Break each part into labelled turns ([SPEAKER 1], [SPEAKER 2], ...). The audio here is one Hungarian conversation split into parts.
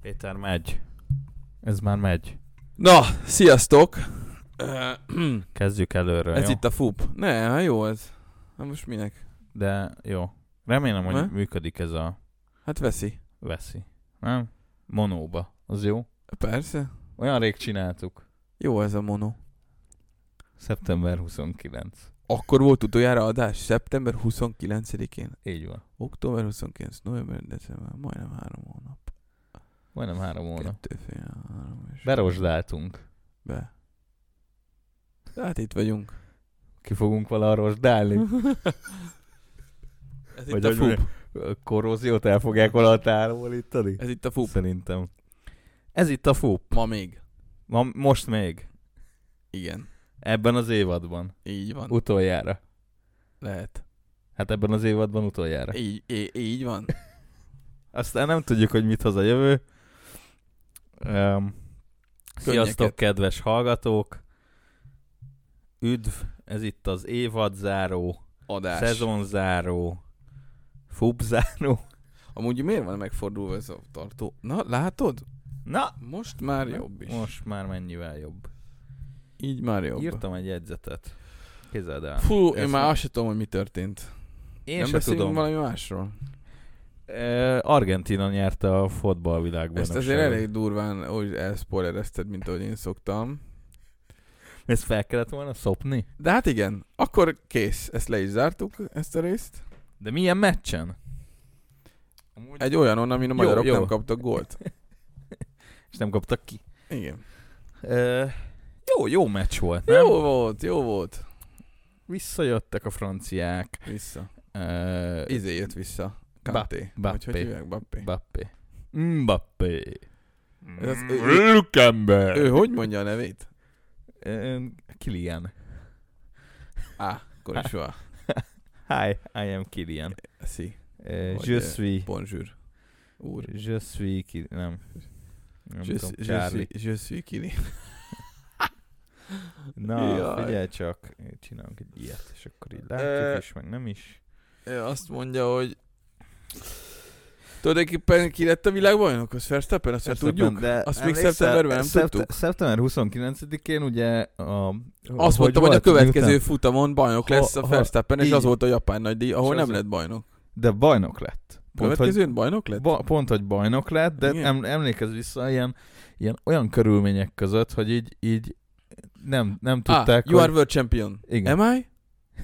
[SPEAKER 1] Péter, megy. Ez már megy.
[SPEAKER 2] Na, sziasztok! Ö,
[SPEAKER 1] Kezdjük előről,
[SPEAKER 2] Ez
[SPEAKER 1] jó?
[SPEAKER 2] itt a FUP. Ne, hát jó ez. Hát most minek?
[SPEAKER 1] De jó. Remélem, hogy
[SPEAKER 2] Ne?
[SPEAKER 1] működik ez a
[SPEAKER 2] Hát veszi.
[SPEAKER 1] veszi. Nem? Monóba. Az jó?
[SPEAKER 2] Persze.
[SPEAKER 1] Olyan rég csináltuk.
[SPEAKER 2] Jó ez a mono.
[SPEAKER 1] Szeptember 29.
[SPEAKER 2] Akkor volt utoljára adás szeptember 29-én,
[SPEAKER 1] Így van.
[SPEAKER 2] október 29, november, december, majdnem három hónap.
[SPEAKER 1] Majdnem három óra.
[SPEAKER 2] Kettő fél, három és
[SPEAKER 1] Berosdáltunk.
[SPEAKER 2] be. Hát itt vagyunk.
[SPEAKER 1] Ki fogunk valaha rosdálni?
[SPEAKER 2] Ez
[SPEAKER 1] Vagy
[SPEAKER 2] itt a
[SPEAKER 1] hogy
[SPEAKER 2] FUP.
[SPEAKER 1] A Korróziót el fogják valaha távolítani?
[SPEAKER 2] Hm. Ez itt a FUP.
[SPEAKER 1] Szerintem. Ez itt a fúp.
[SPEAKER 2] Ma még.
[SPEAKER 1] Ma, most még.
[SPEAKER 2] Igen.
[SPEAKER 1] Ebben az évadban.
[SPEAKER 2] Így van.
[SPEAKER 1] Utoljára.
[SPEAKER 2] Lehet.
[SPEAKER 1] Hát ebben az évadban utoljára.
[SPEAKER 2] Így, í- így van.
[SPEAKER 1] Aztán nem tudjuk, hogy mit hoz a jövő. Um, sziasztok,
[SPEAKER 2] Könnyeket.
[SPEAKER 1] kedves hallgatók! Üdv! Ez itt az évadzáró,
[SPEAKER 2] Adás.
[SPEAKER 1] szezonzáró, fubzáró.
[SPEAKER 2] Amúgy miért van megfordulva ez a tartó? Na, látod?
[SPEAKER 1] Na,
[SPEAKER 2] Most már jobb is.
[SPEAKER 1] most már mennyivel jobb.
[SPEAKER 2] Így már jobb.
[SPEAKER 1] Írtam egy jegyzetet. Képzeld el.
[SPEAKER 2] Fú, én
[SPEAKER 1] Ez-
[SPEAKER 2] már azt sem tudom, hogy mi történt.
[SPEAKER 1] Én
[SPEAKER 2] nem
[SPEAKER 1] nem se
[SPEAKER 2] beszélünk
[SPEAKER 1] tudom. Valami...
[SPEAKER 2] valami másról.
[SPEAKER 1] Argentina nyerte a fotballvilágban.
[SPEAKER 2] Ezt azért elég durván úgy elspoilerezted, mint ahogy én szoktam.
[SPEAKER 1] Ezt fel kellett volna szopni?
[SPEAKER 2] De hát igen, akkor kész. Ezt le is zártuk, ezt a részt.
[SPEAKER 1] De milyen meccsen? Amúgy...
[SPEAKER 2] Egy olyanon, amin a
[SPEAKER 1] Jó,
[SPEAKER 2] magyarok
[SPEAKER 1] jó.
[SPEAKER 2] nem kaptak gólt.
[SPEAKER 1] És nem kaptak ki.
[SPEAKER 2] Igen.
[SPEAKER 1] Ö, jó, jó meccs volt, nem?
[SPEAKER 2] Jó volt, jó volt.
[SPEAKER 1] Visszajöttek a franciák.
[SPEAKER 2] Vissza.
[SPEAKER 1] Ö,
[SPEAKER 2] Izé jött vissza. Kanté.
[SPEAKER 1] Ba-
[SPEAKER 2] Vagy hogy
[SPEAKER 1] Bappé.
[SPEAKER 2] hívják? Bappé.
[SPEAKER 1] Mbappé. Mbappé.
[SPEAKER 2] Ez
[SPEAKER 1] Mm.
[SPEAKER 2] az- ő- ő- Ő
[SPEAKER 1] Lükember.
[SPEAKER 2] hogy mondja a nevét?
[SPEAKER 1] Kilian.
[SPEAKER 2] Á, konnichiwa.
[SPEAKER 1] Hi, I am Kilian.
[SPEAKER 2] Si.
[SPEAKER 1] Ö,
[SPEAKER 2] Vagy,
[SPEAKER 1] Je
[SPEAKER 2] ö,
[SPEAKER 1] suis...
[SPEAKER 2] Bonjour. Úr.
[SPEAKER 1] Je suis... Ki- nem. Nem
[SPEAKER 2] Je,
[SPEAKER 1] tudom,
[SPEAKER 2] suis- je,
[SPEAKER 1] Charlie.
[SPEAKER 2] suis, je suis Kili.
[SPEAKER 1] Na,
[SPEAKER 2] Jaj.
[SPEAKER 1] figyelj csak, csinálunk egy ilyet, és akkor így
[SPEAKER 2] Ö,
[SPEAKER 1] látjuk is, meg nem is.
[SPEAKER 2] Ő azt mondja, hogy tulajdonképpen ki lett a világbajnok? Az Verstappen? Azt már
[SPEAKER 1] Verstappen,
[SPEAKER 2] tudjuk?
[SPEAKER 1] de
[SPEAKER 2] Azt még
[SPEAKER 1] emlékszel-
[SPEAKER 2] szeptemberben nem
[SPEAKER 1] szept-
[SPEAKER 2] tudtuk.
[SPEAKER 1] Szeptember 29-én ugye a...
[SPEAKER 2] Azt mondtam, hogy a
[SPEAKER 1] volt,
[SPEAKER 2] következő
[SPEAKER 1] miután-
[SPEAKER 2] futamon bajnok
[SPEAKER 1] Ha-
[SPEAKER 2] lesz a
[SPEAKER 1] ha-
[SPEAKER 2] Verstappen, és
[SPEAKER 1] így.
[SPEAKER 2] az volt a japán nagydíj, ahol
[SPEAKER 1] És
[SPEAKER 2] nem
[SPEAKER 1] az-
[SPEAKER 2] lett bajnok.
[SPEAKER 1] De bajnok lett. Pont, hogy,
[SPEAKER 2] Következőn bajnok lett?
[SPEAKER 1] ba, pont, hogy bajnok lett, de
[SPEAKER 2] Igen.
[SPEAKER 1] em, emlékezz vissza ilyen, ilyen olyan körülmények között, hogy így, így nem, nem
[SPEAKER 2] Ah,
[SPEAKER 1] tudták,
[SPEAKER 2] you
[SPEAKER 1] hogy...
[SPEAKER 2] are world champion.
[SPEAKER 1] Igen.
[SPEAKER 2] Am I?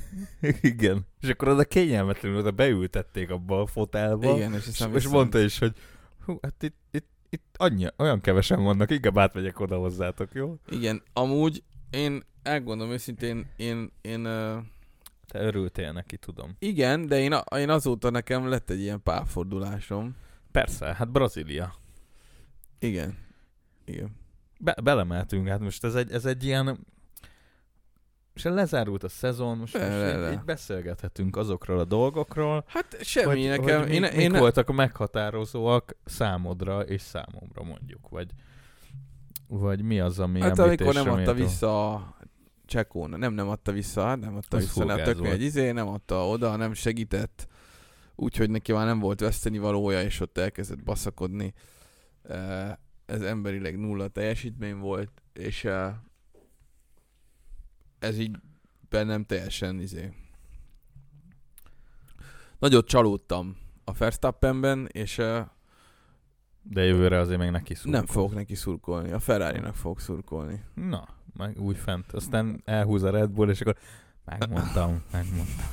[SPEAKER 1] Igen. És akkor oda kényelmetlenül oda beültették abba a fotelba.
[SPEAKER 2] Igen, és
[SPEAKER 1] És,
[SPEAKER 2] aztán
[SPEAKER 1] és mondta is, hogy hú, hát itt, itt, itt annyi, olyan kevesen vannak, inkább átmegyek oda hozzátok, jó?
[SPEAKER 2] Igen, amúgy én elgondolom őszintén, én, én, ö,
[SPEAKER 1] Te örültél neki, tudom.
[SPEAKER 2] igen, de én, a- én azóta nekem lett egy ilyen párfordulásom.
[SPEAKER 1] Persze, hát Brazília.
[SPEAKER 2] Igen. Igen.
[SPEAKER 1] Be, belemeltünk, hát most ez egy, ez egy ilyen... És lezárult a szezon, most, most
[SPEAKER 2] Le, le,
[SPEAKER 1] így,
[SPEAKER 2] le.
[SPEAKER 1] így beszélgethetünk azokról a dolgokról,
[SPEAKER 2] Hát semmi nekem.
[SPEAKER 1] hogy
[SPEAKER 2] én,
[SPEAKER 1] mik,
[SPEAKER 2] én,
[SPEAKER 1] mik voltak a meghatározóak számodra és számomra mondjuk, vagy vagy mi az, ami
[SPEAKER 2] Hát
[SPEAKER 1] említésre
[SPEAKER 2] amikor nem adta
[SPEAKER 1] méltó?
[SPEAKER 2] vissza a Csekón, nem, nem adta vissza, hát nem adta
[SPEAKER 1] Az
[SPEAKER 2] vissza, nem
[SPEAKER 1] furgáz
[SPEAKER 2] tök mi
[SPEAKER 1] volt.
[SPEAKER 2] egy izé, nem adta oda, nem segített, úgyhogy neki már nem volt veszteni valója, és ott elkezdett baszakodni. Eh, Ez emberileg nulla teljesítmény volt, és eh, ez így bennem teljesen izé. Nagyot csalódtam a Verstappenben, és eh,
[SPEAKER 1] De jövőre azért még neki szúr.
[SPEAKER 2] nem fogok neki szurkolni, a Ferrari-nak fogok szurkolni.
[SPEAKER 1] Na, meg úgy fent. Aztán elhúz a Red Bull, és akkor megmondtam, megmondtam.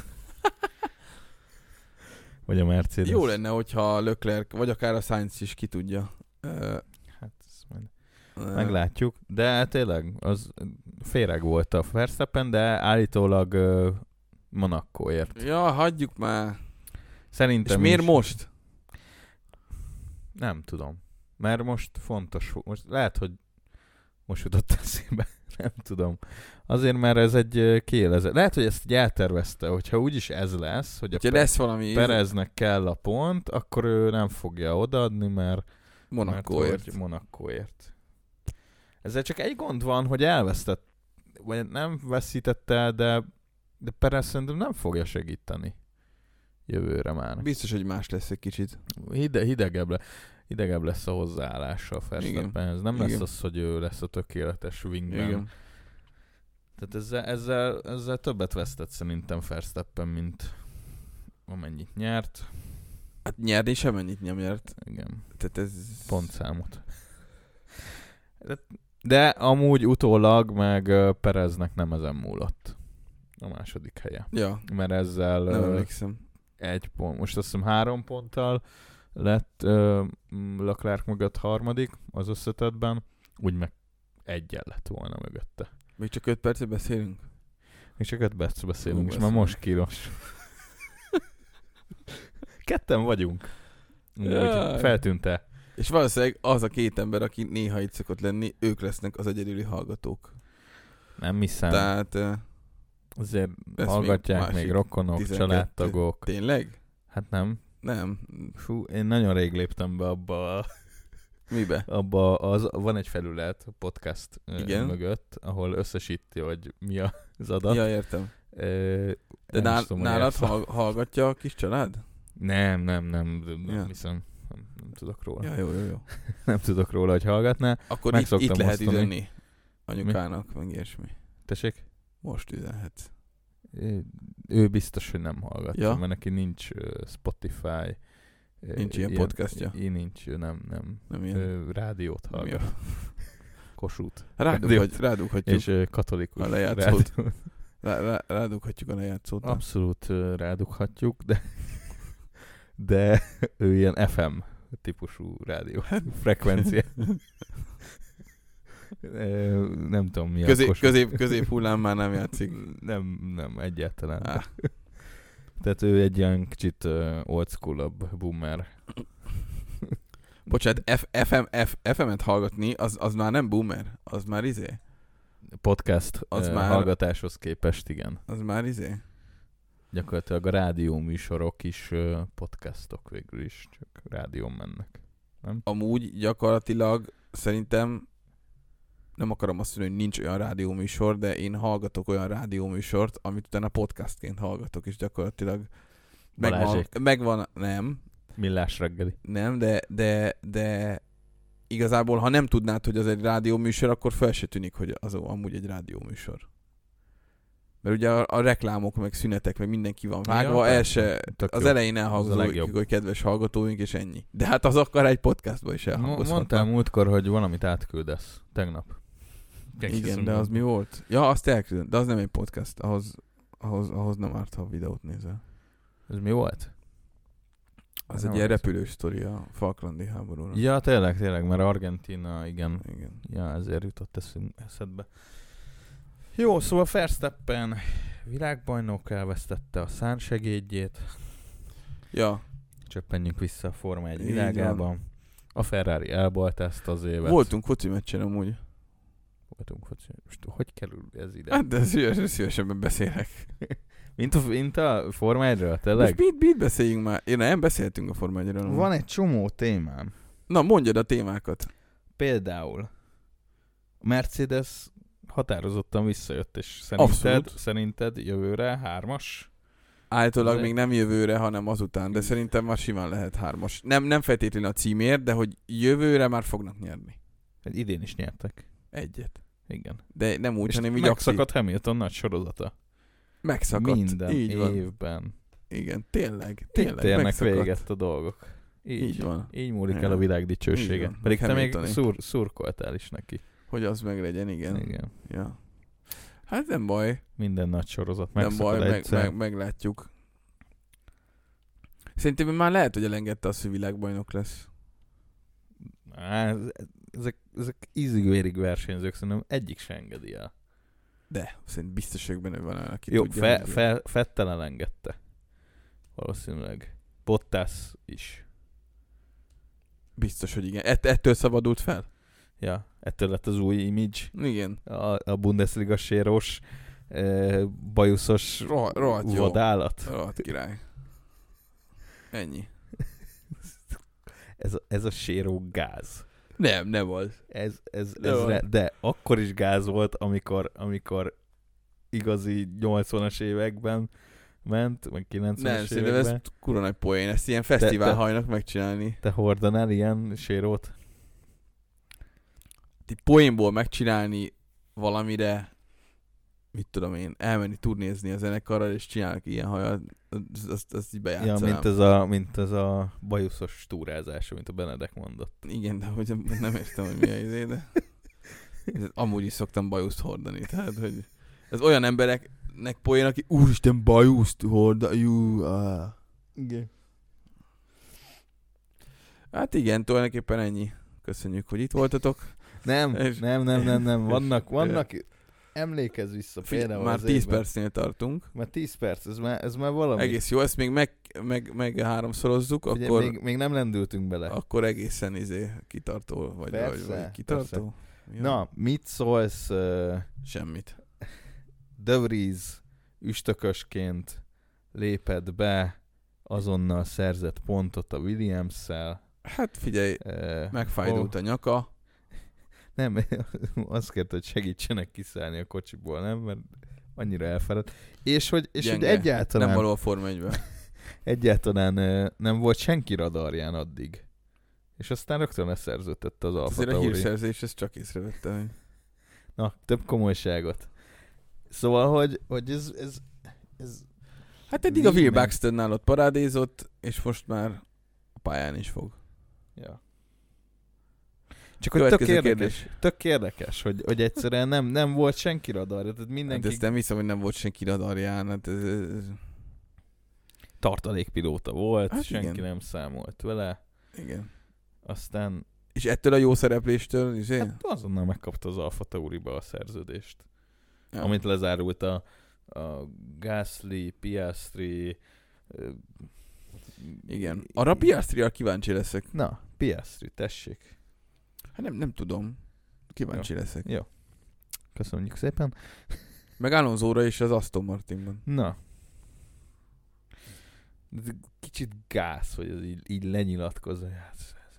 [SPEAKER 1] Vagy a Mercedes.
[SPEAKER 2] Jó lenne, hogyha Leclerc, vagy akár a Sainz is ki tudja. Ö,
[SPEAKER 1] Hát, ez majd
[SPEAKER 2] ö,
[SPEAKER 1] Meglátjuk, de tényleg az féreg volt a Verstappen, de állítólag ö, Monakóért.
[SPEAKER 2] Ja, hagyjuk már.
[SPEAKER 1] Szerintem
[SPEAKER 2] És miért
[SPEAKER 1] is,
[SPEAKER 2] most?
[SPEAKER 1] Nem tudom. Mert most fontos, fo- most lehet, hogy most jutott eszébe, nem tudom. Azért, mert ez egy ö, kiélezett. Lehet, hogy ezt így eltervezte, hogyha úgyis ez lesz, hogy a
[SPEAKER 2] Ugye
[SPEAKER 1] Pe-
[SPEAKER 2] lesz valami
[SPEAKER 1] Pereznek kell a pont, akkor ő nem fogja odaadni, mert
[SPEAKER 2] Monakóért.
[SPEAKER 1] Mert hogy Monakóért. Ezzel csak egy gond van, hogy elvesztett, vagy nem veszítette el, de, de Perez szerintem nem fogja segíteni jövőre már.
[SPEAKER 2] Biztos, hogy más lesz egy kicsit.
[SPEAKER 1] Hide, hidegebb le. idegebb lesz a hozzáállása a Verstappenhez. Nem
[SPEAKER 2] Igen.
[SPEAKER 1] lesz az, hogy ő lesz a tökéletes wingman.
[SPEAKER 2] Igen.
[SPEAKER 1] Tehát ezzel, ezzel, ezzel többet vesztett szerintem Verstappen, mint amennyit nyert.
[SPEAKER 2] Hát nyerni sem ennyit nem nyert.
[SPEAKER 1] Igen,
[SPEAKER 2] Tehát ez...
[SPEAKER 1] pontszámot. De, de amúgy utólag meg ö, Pereznek nem ezen múlott a második helye.
[SPEAKER 2] Ja,
[SPEAKER 1] Mert ezzel
[SPEAKER 2] nem
[SPEAKER 1] ö,
[SPEAKER 2] emlékszem.
[SPEAKER 1] egy pont, most azt hiszem három ponttal lett ö, m, Leclerc mögött harmadik az összetetben, úgy meg egyen lett volna mögötte.
[SPEAKER 2] Még csak 5 percet beszélünk?
[SPEAKER 1] Még csak öt perc
[SPEAKER 2] Hú,
[SPEAKER 1] beszélünk, és már
[SPEAKER 2] beszélünk.
[SPEAKER 1] most kínos. Ketten vagyunk. Úgy
[SPEAKER 2] Jaj.
[SPEAKER 1] feltűnt-e?
[SPEAKER 2] És valószínűleg az a két ember, aki néha itt szokott lenni, ők lesznek az egyedüli hallgatók.
[SPEAKER 1] Nem hiszem. De
[SPEAKER 2] Tehát eh,
[SPEAKER 1] Azért
[SPEAKER 2] lesz
[SPEAKER 1] hallgatják
[SPEAKER 2] még
[SPEAKER 1] még,
[SPEAKER 2] másik
[SPEAKER 1] rokonok,
[SPEAKER 2] 12.
[SPEAKER 1] családtagok.
[SPEAKER 2] tényleg?
[SPEAKER 1] Hát nem.
[SPEAKER 2] Nem.
[SPEAKER 1] Fú, én nagyon rég léptem be abba a
[SPEAKER 2] Mibe?
[SPEAKER 1] abba az, van egy felület a podcast ö,
[SPEAKER 2] Igen.
[SPEAKER 1] mögött, ahol összesíti, hogy mi az adat.
[SPEAKER 2] Ja, értem.
[SPEAKER 1] Ö,
[SPEAKER 2] De
[SPEAKER 1] nem
[SPEAKER 2] nál,
[SPEAKER 1] is tudom, hogy
[SPEAKER 2] nálad
[SPEAKER 1] ezt-
[SPEAKER 2] hall- hallgatja a kis család?
[SPEAKER 1] Nem, nem, nem, nem
[SPEAKER 2] Ja.
[SPEAKER 1] hiszem. Nem, nem tudok róla.
[SPEAKER 2] Ja, jó, jó, jó.
[SPEAKER 1] Nem tudok róla, hogy hallgatná.
[SPEAKER 2] Akkor
[SPEAKER 1] Meg
[SPEAKER 2] itt,
[SPEAKER 1] szoktam
[SPEAKER 2] itt lehet
[SPEAKER 1] osztani.
[SPEAKER 2] üzenni anyukának, meg ilyesmi.
[SPEAKER 1] Tessék?
[SPEAKER 2] Most üzenhet.
[SPEAKER 1] Ő, ő biztos, hogy nem hallgatja,
[SPEAKER 2] Ja.
[SPEAKER 1] mert neki nincs ö, Spotify. ö,
[SPEAKER 2] Nincs ilyen podcastja?
[SPEAKER 1] Ilyen nincs, ő nem, nem.
[SPEAKER 2] Nem ilyen.
[SPEAKER 1] Ö, rádiót
[SPEAKER 2] nem ilyen.
[SPEAKER 1] hallgat. Kossuth.
[SPEAKER 2] Rádug,
[SPEAKER 1] Rádió.
[SPEAKER 2] hogy, rádughatjuk,
[SPEAKER 1] És ö, katolikus
[SPEAKER 2] A lejátszót.
[SPEAKER 1] rádió.
[SPEAKER 2] rá, rá, rádughatjuk a lejátszót. nem?
[SPEAKER 1] Abszolút ö, rádughatjuk, de de ő ilyen FM típusú rádió
[SPEAKER 2] Hát.
[SPEAKER 1] frekvencia. Ö, nem tudom mi a
[SPEAKER 2] Közé,
[SPEAKER 1] kos-
[SPEAKER 2] közép, közép hullám már nem játszik.
[SPEAKER 1] Nem, nem, egyáltalán.
[SPEAKER 2] Á,
[SPEAKER 1] Tehát ő egy ilyen kicsit ö, old school-abb boomer.
[SPEAKER 2] bocsánat, F, FM, F, FM-et hallgatni, az, az már nem boomer, az már izé,
[SPEAKER 1] Podcast
[SPEAKER 2] Az
[SPEAKER 1] ö,
[SPEAKER 2] már-
[SPEAKER 1] hallgatáshoz képest, igen.
[SPEAKER 2] az már izé.
[SPEAKER 1] Gyakorlatilag a rádió műsorok is ö, podcastok végül is, csak rádión mennek.
[SPEAKER 2] Amúgy gyakorlatilag szerintem nem akarom azt mondani, hogy nincs olyan rádióműsor, de én hallgatok olyan rádióműsort, amit utána podcastként hallgatok, és gyakorlatilag megvan,
[SPEAKER 1] Balázsék.
[SPEAKER 2] megvan nem,
[SPEAKER 1] Millás reggeli.
[SPEAKER 2] nem, de, de, de igazából, ha nem tudnád, hogy az egy rádióműsor, akkor fel se tűnik, hogy az amúgy egy rádióműsor. Mert ugye a, a reklámok, meg szünetek, meg mindenki van
[SPEAKER 1] Ja,
[SPEAKER 2] vágva, el
[SPEAKER 1] persze.
[SPEAKER 2] se,
[SPEAKER 1] Tök
[SPEAKER 2] az
[SPEAKER 1] jó.
[SPEAKER 2] elején elhangzódik,
[SPEAKER 1] legjobb.
[SPEAKER 2] hogy kedves hallgatóink, és ennyi. De hát az akár egy podcastban is
[SPEAKER 1] Mo-
[SPEAKER 2] elhangozhat.
[SPEAKER 1] Mondtál múltkor, hogy valamit átküldesz. Tegnap.
[SPEAKER 2] Igen, de az mi volt? Ja, azt elküldöm, de az nem egy podcast, ahhoz, ahhoz, ahhoz nem árt, ha videót nézel.
[SPEAKER 1] Ez mi volt?
[SPEAKER 2] Az
[SPEAKER 1] Nem
[SPEAKER 2] egy ilyen
[SPEAKER 1] volt.
[SPEAKER 2] repülős sztori a Falklandi háborúra.
[SPEAKER 1] Ja, tényleg, tényleg, mert Argentina, igen.
[SPEAKER 2] Igen.
[SPEAKER 1] Ja, ezért jutott eszünk, eszedbe. Jó, szóval Verstappen világbajnok elvesztette a szánsegédjét.
[SPEAKER 2] Ja,
[SPEAKER 1] Csöppenjünk vissza a Forma 1
[SPEAKER 2] Így
[SPEAKER 1] világába. A Ferrari elbaltázta az évet.
[SPEAKER 2] voltunk foci meccsen amúgy.
[SPEAKER 1] Voltunk, foci. Most hogy kerül ez ide?
[SPEAKER 2] Hát de szívesen, szívesebben beszélek.
[SPEAKER 1] Mint a, mint a Forma 1-ről,
[SPEAKER 2] Most
[SPEAKER 1] tényleg?
[SPEAKER 2] mit, mit beszéljünk már? Ja, nem, beszéltünk a Forma 1
[SPEAKER 1] Van egy csomó témám.
[SPEAKER 2] Na, mondjad a témákat.
[SPEAKER 1] Például Mercedes határozottan visszajött, és szerinted,
[SPEAKER 2] Abszolút.
[SPEAKER 1] szerinted jövőre hármas?
[SPEAKER 2] Állítólag
[SPEAKER 1] Ezek-
[SPEAKER 2] még nem jövőre, hanem azután, de szerintem már simán lehet hármas. Nem, nem feltétlenül a címért, de hogy jövőre már fognak nyerni.
[SPEAKER 1] Hát idén is nyertek.
[SPEAKER 2] Egyet.
[SPEAKER 1] Igen.
[SPEAKER 2] De nem úgy,
[SPEAKER 1] és
[SPEAKER 2] hanem így
[SPEAKER 1] megszakadt Hamilton nagy sorozata.
[SPEAKER 2] aktív. Megszakadt.
[SPEAKER 1] Minden
[SPEAKER 2] Így van.
[SPEAKER 1] évben.
[SPEAKER 2] Igen, tényleg,
[SPEAKER 1] Tényleg
[SPEAKER 2] tényleg
[SPEAKER 1] térnek
[SPEAKER 2] megszakadt.
[SPEAKER 1] véget a dolgok. Így,
[SPEAKER 2] Így van,
[SPEAKER 1] Így múlik
[SPEAKER 2] Igen.
[SPEAKER 1] el a világ
[SPEAKER 2] Így
[SPEAKER 1] dicsősége.
[SPEAKER 2] van.
[SPEAKER 1] Pedig te még
[SPEAKER 2] Hamiltonék.
[SPEAKER 1] szur, szurkoltál is neki.
[SPEAKER 2] hogy az meglegyen, igen. igen.
[SPEAKER 1] Igen.
[SPEAKER 2] Ja. Hát nem baj,
[SPEAKER 1] Minden nagy sorozat
[SPEAKER 2] nem baj,
[SPEAKER 1] megszakad
[SPEAKER 2] meg,
[SPEAKER 1] egyszer.
[SPEAKER 2] meg, meglátjuk. Szerintem már lehet, hogy elengedte azt, hogy világbajnok lesz.
[SPEAKER 1] Á, ez- ezek, ezek ízig-vérig versenyzők, szerintem egyik se engedi el.
[SPEAKER 2] De, szerintem biztos vagyok benne, hogy van olyan, aki
[SPEAKER 1] Jó,
[SPEAKER 2] tudja.
[SPEAKER 1] fe,
[SPEAKER 2] hogy-
[SPEAKER 1] fe, Fettel elengedte. Valószínűleg. Bottas is.
[SPEAKER 2] Biztos, hogy igen. Ett, ettől szabadult fel?
[SPEAKER 1] Ja, ettől lett az új image.
[SPEAKER 2] Igen.
[SPEAKER 1] a, a Bundesliga séros, ö, bajuszos
[SPEAKER 2] Roha- rohadt jó.
[SPEAKER 1] vadállat.
[SPEAKER 2] Rohadt király. Ennyi.
[SPEAKER 1] Ez, a- ez a séró gáz.
[SPEAKER 2] Nem, nem volt.
[SPEAKER 1] Ez, ez,
[SPEAKER 2] De
[SPEAKER 1] ez
[SPEAKER 2] van.
[SPEAKER 1] re, de akkor is gáz volt, amikor, amikor igazi 80-as években ment, meg 90-es
[SPEAKER 2] Nem, szerintem
[SPEAKER 1] években.
[SPEAKER 2] ez kurva nagy poén, ezt ilyen fesztivál hajnak megcsinálni.
[SPEAKER 1] Te hordanál ilyen sérót?
[SPEAKER 2] Ti poénból megcsinálni valamire, mit tudom én, elmenni turnézni a zenekarral, és csinálnak ilyen hajat, azt, azt, azt így
[SPEAKER 1] Ja,
[SPEAKER 2] bejátszanám.
[SPEAKER 1] mint ez, a, mint ez a bajuszos túrázás, amit a Benedek mondott.
[SPEAKER 2] Igen, de hogy nem értem, hogy mi a izé, de... de amúgy is szoktam bajuszt hordani, tehát, hogy... Ez olyan embereknek poén, aki úristen bajuszt horda, jú, ah.
[SPEAKER 1] Igen.
[SPEAKER 2] Hát igen, tulajdonképpen ennyi. Köszönjük, hogy itt voltatok.
[SPEAKER 1] Nem,
[SPEAKER 2] És-
[SPEAKER 1] nem, nem, nem, nem. Vannak, vannak, emlékezz vissza
[SPEAKER 2] Figy-
[SPEAKER 1] például
[SPEAKER 2] már
[SPEAKER 1] az
[SPEAKER 2] 10
[SPEAKER 1] évben.
[SPEAKER 2] percnél tartunk.
[SPEAKER 1] Már 10 perc, ez már, ez már valami.
[SPEAKER 2] Egész jó, ezt még meg, meg, meg háromszorozzuk,
[SPEAKER 1] Ugye,
[SPEAKER 2] akkor,
[SPEAKER 1] még, még nem lendültünk bele.
[SPEAKER 2] akkor egészen izé kitartó, vagy,
[SPEAKER 1] Persze,
[SPEAKER 2] vagy, vagy kitartó. Ja,
[SPEAKER 1] Na, mit szólsz uh,
[SPEAKER 2] Semmit.
[SPEAKER 1] De Vries üstökösként lépett be azonnal szerzett pontot a Williams-szel.
[SPEAKER 2] Hát figyelj,
[SPEAKER 1] Uh,
[SPEAKER 2] megfájdult a nyaka.
[SPEAKER 1] Nem, azt kérte, hogy segítsenek kiszállni a kocsiból, nem? Mert annyira elfáradt. És hogy, és hogy
[SPEAKER 2] Gyenge.
[SPEAKER 1] egyáltalán,
[SPEAKER 2] Nem
[SPEAKER 1] nem
[SPEAKER 2] való a Form 1
[SPEAKER 1] egyáltalán ö, nem volt senki radarján addig. És aztán rögtön leszerződtette az Alfa
[SPEAKER 2] Azért a
[SPEAKER 1] Tauri.
[SPEAKER 2] hírszerzés, ezt csak Hát észrevette, hogy
[SPEAKER 1] Na, több komolyságot. Szóval, hogy, hogy ez, ez, ez
[SPEAKER 2] Hát eddig a Will
[SPEAKER 1] Négy meg.
[SPEAKER 2] Buxton ott parádézott, és most már a pályán is fog.
[SPEAKER 1] ja. Csak hogy tök
[SPEAKER 2] Következő Hát
[SPEAKER 1] érdekes, kérdés. tök érdekes, hogy, hogy egyszerűen nem, nem volt senki radarja, tehát
[SPEAKER 2] Hát
[SPEAKER 1] mindenki
[SPEAKER 2] ezt nem hiszem, hogy nem volt senki radarján. Hát ez, ez,
[SPEAKER 1] tartalékpilóta volt,
[SPEAKER 2] Hát
[SPEAKER 1] hát senki
[SPEAKER 2] igen.
[SPEAKER 1] igen. nem számolt vele,
[SPEAKER 2] igen.
[SPEAKER 1] aztán
[SPEAKER 2] És ettől a jó szerepléstől, izé?
[SPEAKER 1] Hát azonnal megkapta az Alfa Tauriba a szerződést,
[SPEAKER 2] Ja.
[SPEAKER 1] amit lezárult a, a Gasly, Piastri... ö,
[SPEAKER 2] Igen. Arra a piasztriára kíváncsi leszek.
[SPEAKER 1] Na, Piastri, tessék.
[SPEAKER 2] Hát nem, nem tudom. Kíváncsi leszek.
[SPEAKER 1] Köszönjük szépen.
[SPEAKER 2] Meg Alonzóra is az Aston Martinban.
[SPEAKER 1] Na. Ez Kicsit gáz, hogy ez így, így lenyilatkozza. Hát, ez, ez,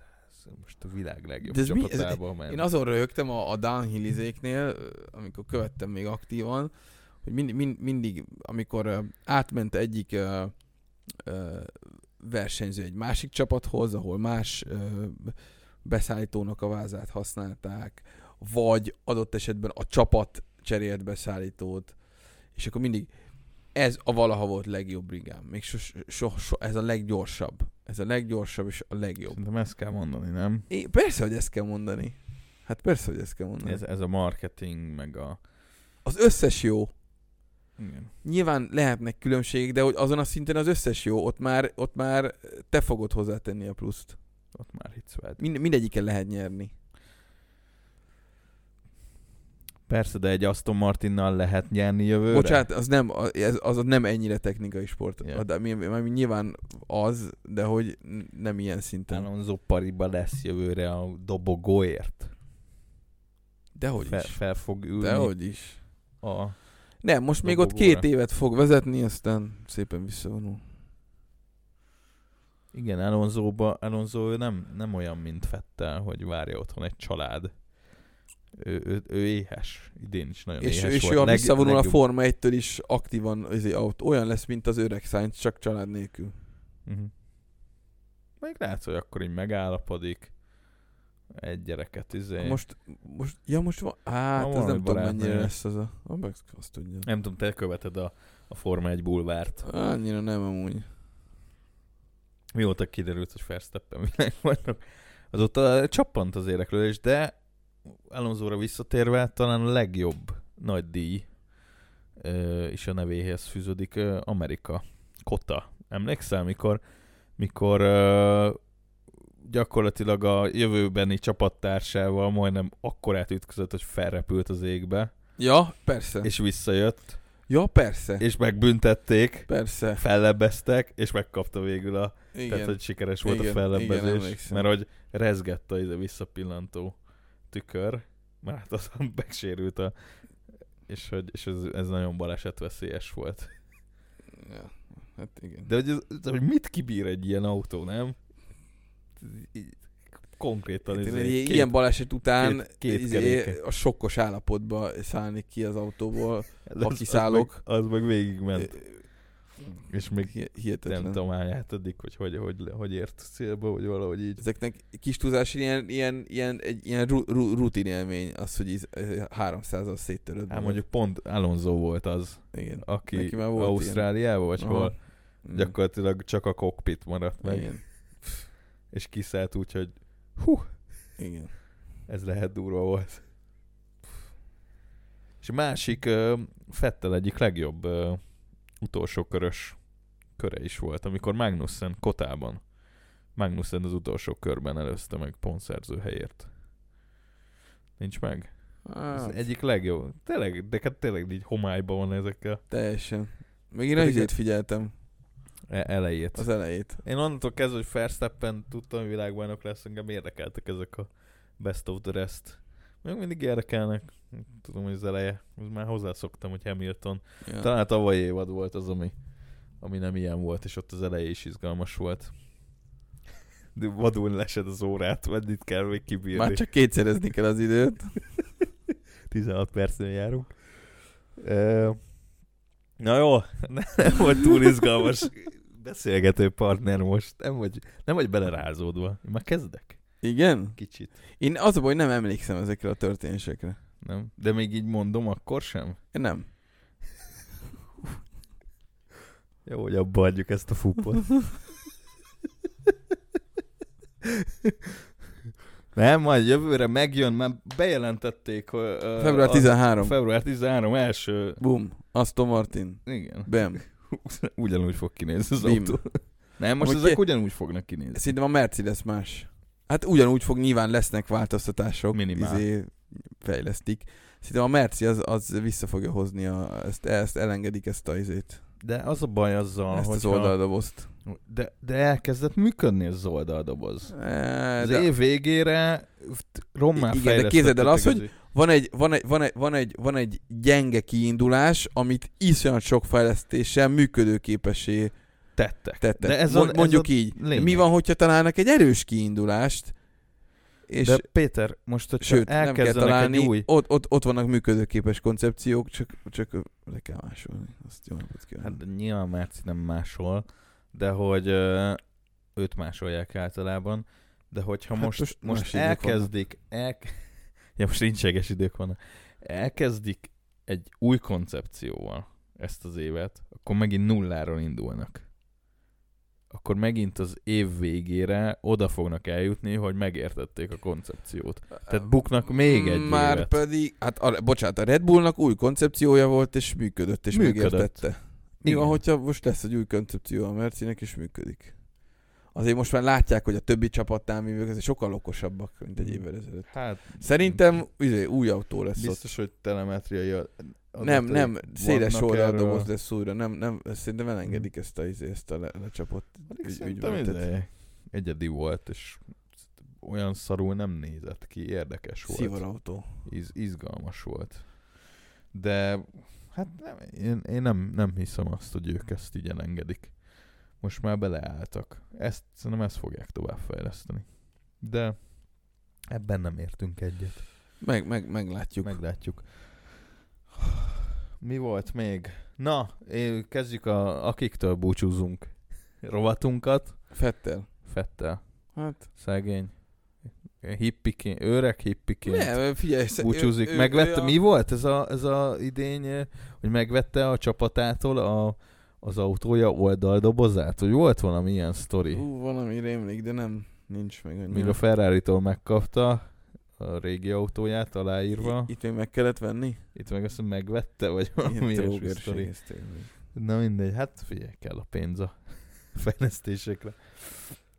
[SPEAKER 1] ez most a világ legjobb
[SPEAKER 2] De ez mi? Ez-
[SPEAKER 1] csapatába ment.
[SPEAKER 2] Én azon röhögtem a, a downhill izéknél, ö, amikor követtem még aktívan, hogy mind, mind, mindig, amikor ö, átment egyik ö, ö, versenyző egy másik csapathoz, ahol más ö, beszállítónak a vázát használták, vagy adott esetben a csapat cserélt beszállítót, és akkor mindig ez a valaha volt legjobb brigám. Még sos, so, so, ez a leggyorsabb. Ez a leggyorsabb és a legjobb.
[SPEAKER 1] Szerintem ezt kell mondani, nem?
[SPEAKER 2] É, persze, hogy ezt kell mondani. Hát persze, hogy ezt kell mondani.
[SPEAKER 1] Ez,
[SPEAKER 2] Ez...
[SPEAKER 1] ez a marketing, meg a...
[SPEAKER 2] Az összes jó.
[SPEAKER 1] Igen.
[SPEAKER 2] Nyilván lehetnek különbségek, de hogy azon a szinten az összes jó, ott már, ott már te fogod hozzátenni a pluszt.
[SPEAKER 1] Ott már hitszvált.
[SPEAKER 2] Mind, mindegyiken lehet nyerni.
[SPEAKER 1] Persze, de egy Aston Martinnal lehet nyerni jövőre.
[SPEAKER 2] Bocsánat, az nem, a- ez, az nem ennyire technikai sport.
[SPEAKER 1] Ja.
[SPEAKER 2] Yeah. De, mi, mi, nyilván az, de hogy n- nem ilyen szinten.
[SPEAKER 1] Alonso pariba lesz jövőre a dobogóért.
[SPEAKER 2] Dehogy
[SPEAKER 1] Fel,
[SPEAKER 2] is.
[SPEAKER 1] fel fog ülni Dehogy.
[SPEAKER 2] Dehogy is.
[SPEAKER 1] a...
[SPEAKER 2] Nem, most még ott
[SPEAKER 1] Dobogóra.
[SPEAKER 2] két évet fog vezetni, aztán szépen visszavonul.
[SPEAKER 1] Igen, Alonsoba, Alonso ő nem, nem olyan, mint Fettel, hogy várja otthon egy család. Ő, ő, ő éhes. Idén is nagyon
[SPEAKER 2] És,
[SPEAKER 1] éhes
[SPEAKER 2] és
[SPEAKER 1] volt.
[SPEAKER 2] ő, ha
[SPEAKER 1] Leg-
[SPEAKER 2] visszavonul a
[SPEAKER 1] legjobb-
[SPEAKER 2] Forma 1-től is aktívan izé, aut, olyan lesz, mint az öreg Sainz, csak család nélkül.
[SPEAKER 1] Mhm. Meg látsz, hogy akkor így megállapodik. Egy gyereket izé. Most...
[SPEAKER 2] Most, most, ja most van, hát
[SPEAKER 1] Van
[SPEAKER 2] ez
[SPEAKER 1] valami
[SPEAKER 2] nem tudom
[SPEAKER 1] barátnője.
[SPEAKER 2] mennyire lesz az a, a meg azt tudja.
[SPEAKER 1] Nem tudom, te követed a, a Forma 1 bulvárt.
[SPEAKER 2] Annyira nem amúgy.
[SPEAKER 1] Mióta kiderült, hogy Verstappen világbajnok, azóta eh, csappant az érdeklődés, de Alonso-ra visszatérve talán a legjobb nagy díj ö, is a nevéhez fűződik ö, Amerika. Kota. Emlékszel, mikor, mikor ö, gyakorlatilag a jövőbeni csapattársával majdnem akkorát ütközött, hogy felrepült az égbe,
[SPEAKER 2] Ja, persze. És...
[SPEAKER 1] és visszajött,
[SPEAKER 2] Ja, persze. És...
[SPEAKER 1] és megbüntették,
[SPEAKER 2] Persze.
[SPEAKER 1] fellebbeztek, és megkapta végül a
[SPEAKER 2] Igen.
[SPEAKER 1] igen. Tehát, hogy sikeres volt igen,
[SPEAKER 2] Igen,
[SPEAKER 1] a
[SPEAKER 2] igen,
[SPEAKER 1] fellebbezés,
[SPEAKER 2] emlékszem.
[SPEAKER 1] mert hogy rezgett a ide visszapillantó tükör, mert hát azon megsérült a... És, hogy, és ez, ez nagyon balesetveszélyes volt.
[SPEAKER 2] Ja. Hát igen.
[SPEAKER 1] De hogy, ez, de hogy mit kibír egy ilyen autó, nem? Így Konkrétan
[SPEAKER 2] Hát,
[SPEAKER 1] ez
[SPEAKER 2] izé, ilyen baleset után izé
[SPEAKER 1] két- két keréke.
[SPEAKER 2] a sokkos állapotba szállni ki az autóból.
[SPEAKER 1] az- az
[SPEAKER 2] akiszállok.
[SPEAKER 1] meg- Az meg végigment. És még
[SPEAKER 2] hi-
[SPEAKER 1] nem
[SPEAKER 2] hihetetlen.
[SPEAKER 1] tudom, hány átaddig, hogy hogy, hogy, hogy ért célba, vagy valahogy így.
[SPEAKER 2] Ezeknek kis túlzás ilyen, ilyen, ilyen, egy ilyen ru, ru, rutin élmény az, hogy íz- 300-al széttöröd.
[SPEAKER 1] Hát mondjuk pont Alonso volt az,
[SPEAKER 2] Igen.
[SPEAKER 1] aki
[SPEAKER 2] Neki már volt
[SPEAKER 1] Ausztráliában, vagy
[SPEAKER 2] Aha.
[SPEAKER 1] hol,
[SPEAKER 2] Mm.
[SPEAKER 1] gyakorlatilag csak a kokpit maradt meg,
[SPEAKER 2] Igen.
[SPEAKER 1] és kiszállt úgy, hogy hú,
[SPEAKER 2] Igen.
[SPEAKER 1] ez lehet durva volt. És a másik ö, Fettel egyik legjobb ö, utolsó körös köre is volt, amikor Magnussen kotában. Magnussen az utolsó körben előzte meg pontszerző helyért. Nincs meg? Ez
[SPEAKER 2] Hát,
[SPEAKER 1] egyik legjobb. Tényleg, de hát tényleg így homályban van ezekkel
[SPEAKER 2] teljesen. Még én
[SPEAKER 1] Pedig-
[SPEAKER 2] ezért figyeltem
[SPEAKER 1] e- elejét.
[SPEAKER 2] az elejét.
[SPEAKER 1] Én onnantól kezdve, hogy Verstappen tudtam, hogy világbajnok lesz, engem érdekeltek ezek a best of the rest. Még mindig érdekelnek, tudom, hogy az eleje. Most már hozzászoktam, hogy Hamilton.
[SPEAKER 2] Ja.
[SPEAKER 1] Talán tavaly évad volt az, ami, ami nem ilyen volt, és ott az eleje is izgalmas volt. De vadul lesed az órát, meddig kell még kibírni.
[SPEAKER 2] Már csak kétszerezni kell az időt.
[SPEAKER 1] 16 percnél járunk. Ö, Na jó, nem, nem vagy túl izgalmas beszélgető partner most. Nem vagy, nem vagy belerázódva. Én már kezdek?
[SPEAKER 2] Igen?
[SPEAKER 1] Kicsit.
[SPEAKER 2] Én az a baj, nem emlékszem ezekre a történésekre.
[SPEAKER 1] Nem? De még így mondom, akkor sem?
[SPEAKER 2] Én nem.
[SPEAKER 1] Jó, hogy abba adjuk ezt a fupot. Nem, majd jövőre megjön, már bejelentették. Hogy, ö,
[SPEAKER 2] Február
[SPEAKER 1] a-
[SPEAKER 2] 13.
[SPEAKER 1] Február 13 első.
[SPEAKER 2] Bum. Aston Martin.
[SPEAKER 1] Igen.
[SPEAKER 2] Bem.
[SPEAKER 1] Ugyanúgy fog kinézni az
[SPEAKER 2] Bim.
[SPEAKER 1] autó. Nem, most
[SPEAKER 2] Amúgy
[SPEAKER 1] ezek
[SPEAKER 2] ki-
[SPEAKER 1] ugyanúgy fognak kinézni.
[SPEAKER 2] Szerintem a Mercedes más. Hát ugyanúgy fog, nyilván lesznek változtatások.
[SPEAKER 1] Minimál.
[SPEAKER 2] Izé fejlesztik. Szerintem a Merci az, az vissza fogja hozni, a, ezt, ezt elengedik ezt a izét,
[SPEAKER 1] De az a baj azzal,
[SPEAKER 2] ezt
[SPEAKER 1] hogy
[SPEAKER 2] az oldaldobozt.
[SPEAKER 1] de, de elkezdett működni az oldaldoboz.
[SPEAKER 2] E,
[SPEAKER 1] Az
[SPEAKER 2] de
[SPEAKER 1] év végére rommá
[SPEAKER 2] Igen, de
[SPEAKER 1] fejlesztették
[SPEAKER 2] képzeld el azt,
[SPEAKER 1] az
[SPEAKER 2] hogy-
[SPEAKER 1] ő-
[SPEAKER 2] van, egy, van, egy, van, egy, van, egy, van egy gyenge kiindulás, amit iszonyat sok fejlesztéssel működőképessé
[SPEAKER 1] tettek.
[SPEAKER 2] tettek.
[SPEAKER 1] De ez a-
[SPEAKER 2] Mo-
[SPEAKER 1] ez
[SPEAKER 2] mondjuk
[SPEAKER 1] a
[SPEAKER 2] így. De
[SPEAKER 1] lényeg.
[SPEAKER 2] Mi van, hogyha találnak egy erős kiindulást, és
[SPEAKER 1] De Péter, most hogyha
[SPEAKER 2] Sőt, nem kell
[SPEAKER 1] elkezdenek
[SPEAKER 2] találni,
[SPEAKER 1] egy új...
[SPEAKER 2] ott, ott, ott vannak működőképes koncepciók, csak, csak le kell másolni. Azt jó napot kívánok.
[SPEAKER 1] Hát nyilván Merci nem máshol, de hogy ö, őt másolják általában, de hogyha
[SPEAKER 2] Hát
[SPEAKER 1] most,
[SPEAKER 2] most
[SPEAKER 1] most,
[SPEAKER 2] más
[SPEAKER 1] most
[SPEAKER 2] idők
[SPEAKER 1] elkezdik, el, ja most nincseges idők vannak, elkezdik egy új koncepcióval ezt az évet, akkor megint nulláról indulnak. Akkor megint az év végére oda fognak eljutni, hogy megértették a koncepciót. Hát, Tehát buknak még egy
[SPEAKER 2] Mm, Már
[SPEAKER 1] évet.
[SPEAKER 2] pedig, hát a, bocsánat, a Red Bullnak új koncepciója volt, és működött, és
[SPEAKER 1] Működött.
[SPEAKER 2] megértette. Mi van,
[SPEAKER 1] Igen.
[SPEAKER 2] hogyha most lesz egy új koncepció a Mercinek, és működik? Azért most már látják, hogy a többi csapatnál mi azért sokkal okosabbak, mint egy évvel ezelőtt.
[SPEAKER 1] Hát
[SPEAKER 2] Szerintem izé, új autó lesz ott.
[SPEAKER 1] biztos, hogy telemetriai a- a-
[SPEAKER 2] Nem, nem, széles
[SPEAKER 1] vannak
[SPEAKER 2] oldaldoboz
[SPEAKER 1] erről. Mm.
[SPEAKER 2] lesz újra, nem, nem, szerintem elengedik ezt a, izé, ezt a le, lecsapott ügy-
[SPEAKER 1] Szerintem
[SPEAKER 2] ügyvezetet.
[SPEAKER 1] izé, egyedi volt, és olyan szarul nem nézett ki, érdekes volt,
[SPEAKER 2] Szivarautó.
[SPEAKER 1] Iz, izgalmas volt. De hát nem, én, én nem, nem hiszem azt, hogy ők ezt így elengedik. Most már beleálltak. Ezt szerintem ezt fogják továbbfejleszteni. De ebben nem értünk egyet.
[SPEAKER 2] Meg, meg, meglátjuk. Meg.
[SPEAKER 1] Meglátjuk. Mi volt még? Na, é- kezdjük a akiktől búcsúzunk rovatunkat.
[SPEAKER 2] Fettel.
[SPEAKER 1] Fettel.
[SPEAKER 2] Hát,
[SPEAKER 1] Szegény. Hippiként, öreg hippiként nem,
[SPEAKER 2] nem, figyelj, sze-
[SPEAKER 1] búcsúzik.
[SPEAKER 2] ő- ő-
[SPEAKER 1] megvette,
[SPEAKER 2] ő a-
[SPEAKER 1] mi volt ez a, ez a idény, eh, hogy megvette a csapatától a, az autója oldaldobozát? Hogy volt valami ilyen sztori? Uh,
[SPEAKER 2] Ú, valami rémlik, de nem, nincs meg. hogy
[SPEAKER 1] Míg
[SPEAKER 2] mi
[SPEAKER 1] a
[SPEAKER 2] van.
[SPEAKER 1] Ferrari-tól megkapta a régi autóját aláírva.
[SPEAKER 2] Itt még meg kellett venni?
[SPEAKER 1] Itt meg azt mondja, megvette, vagy valami
[SPEAKER 2] Ilyen
[SPEAKER 1] ilyesmi
[SPEAKER 2] trógerség
[SPEAKER 1] sztori.
[SPEAKER 2] ez tényleg.
[SPEAKER 1] Na mindegy, hát figyelj, kell a pénz a fejlesztésekre.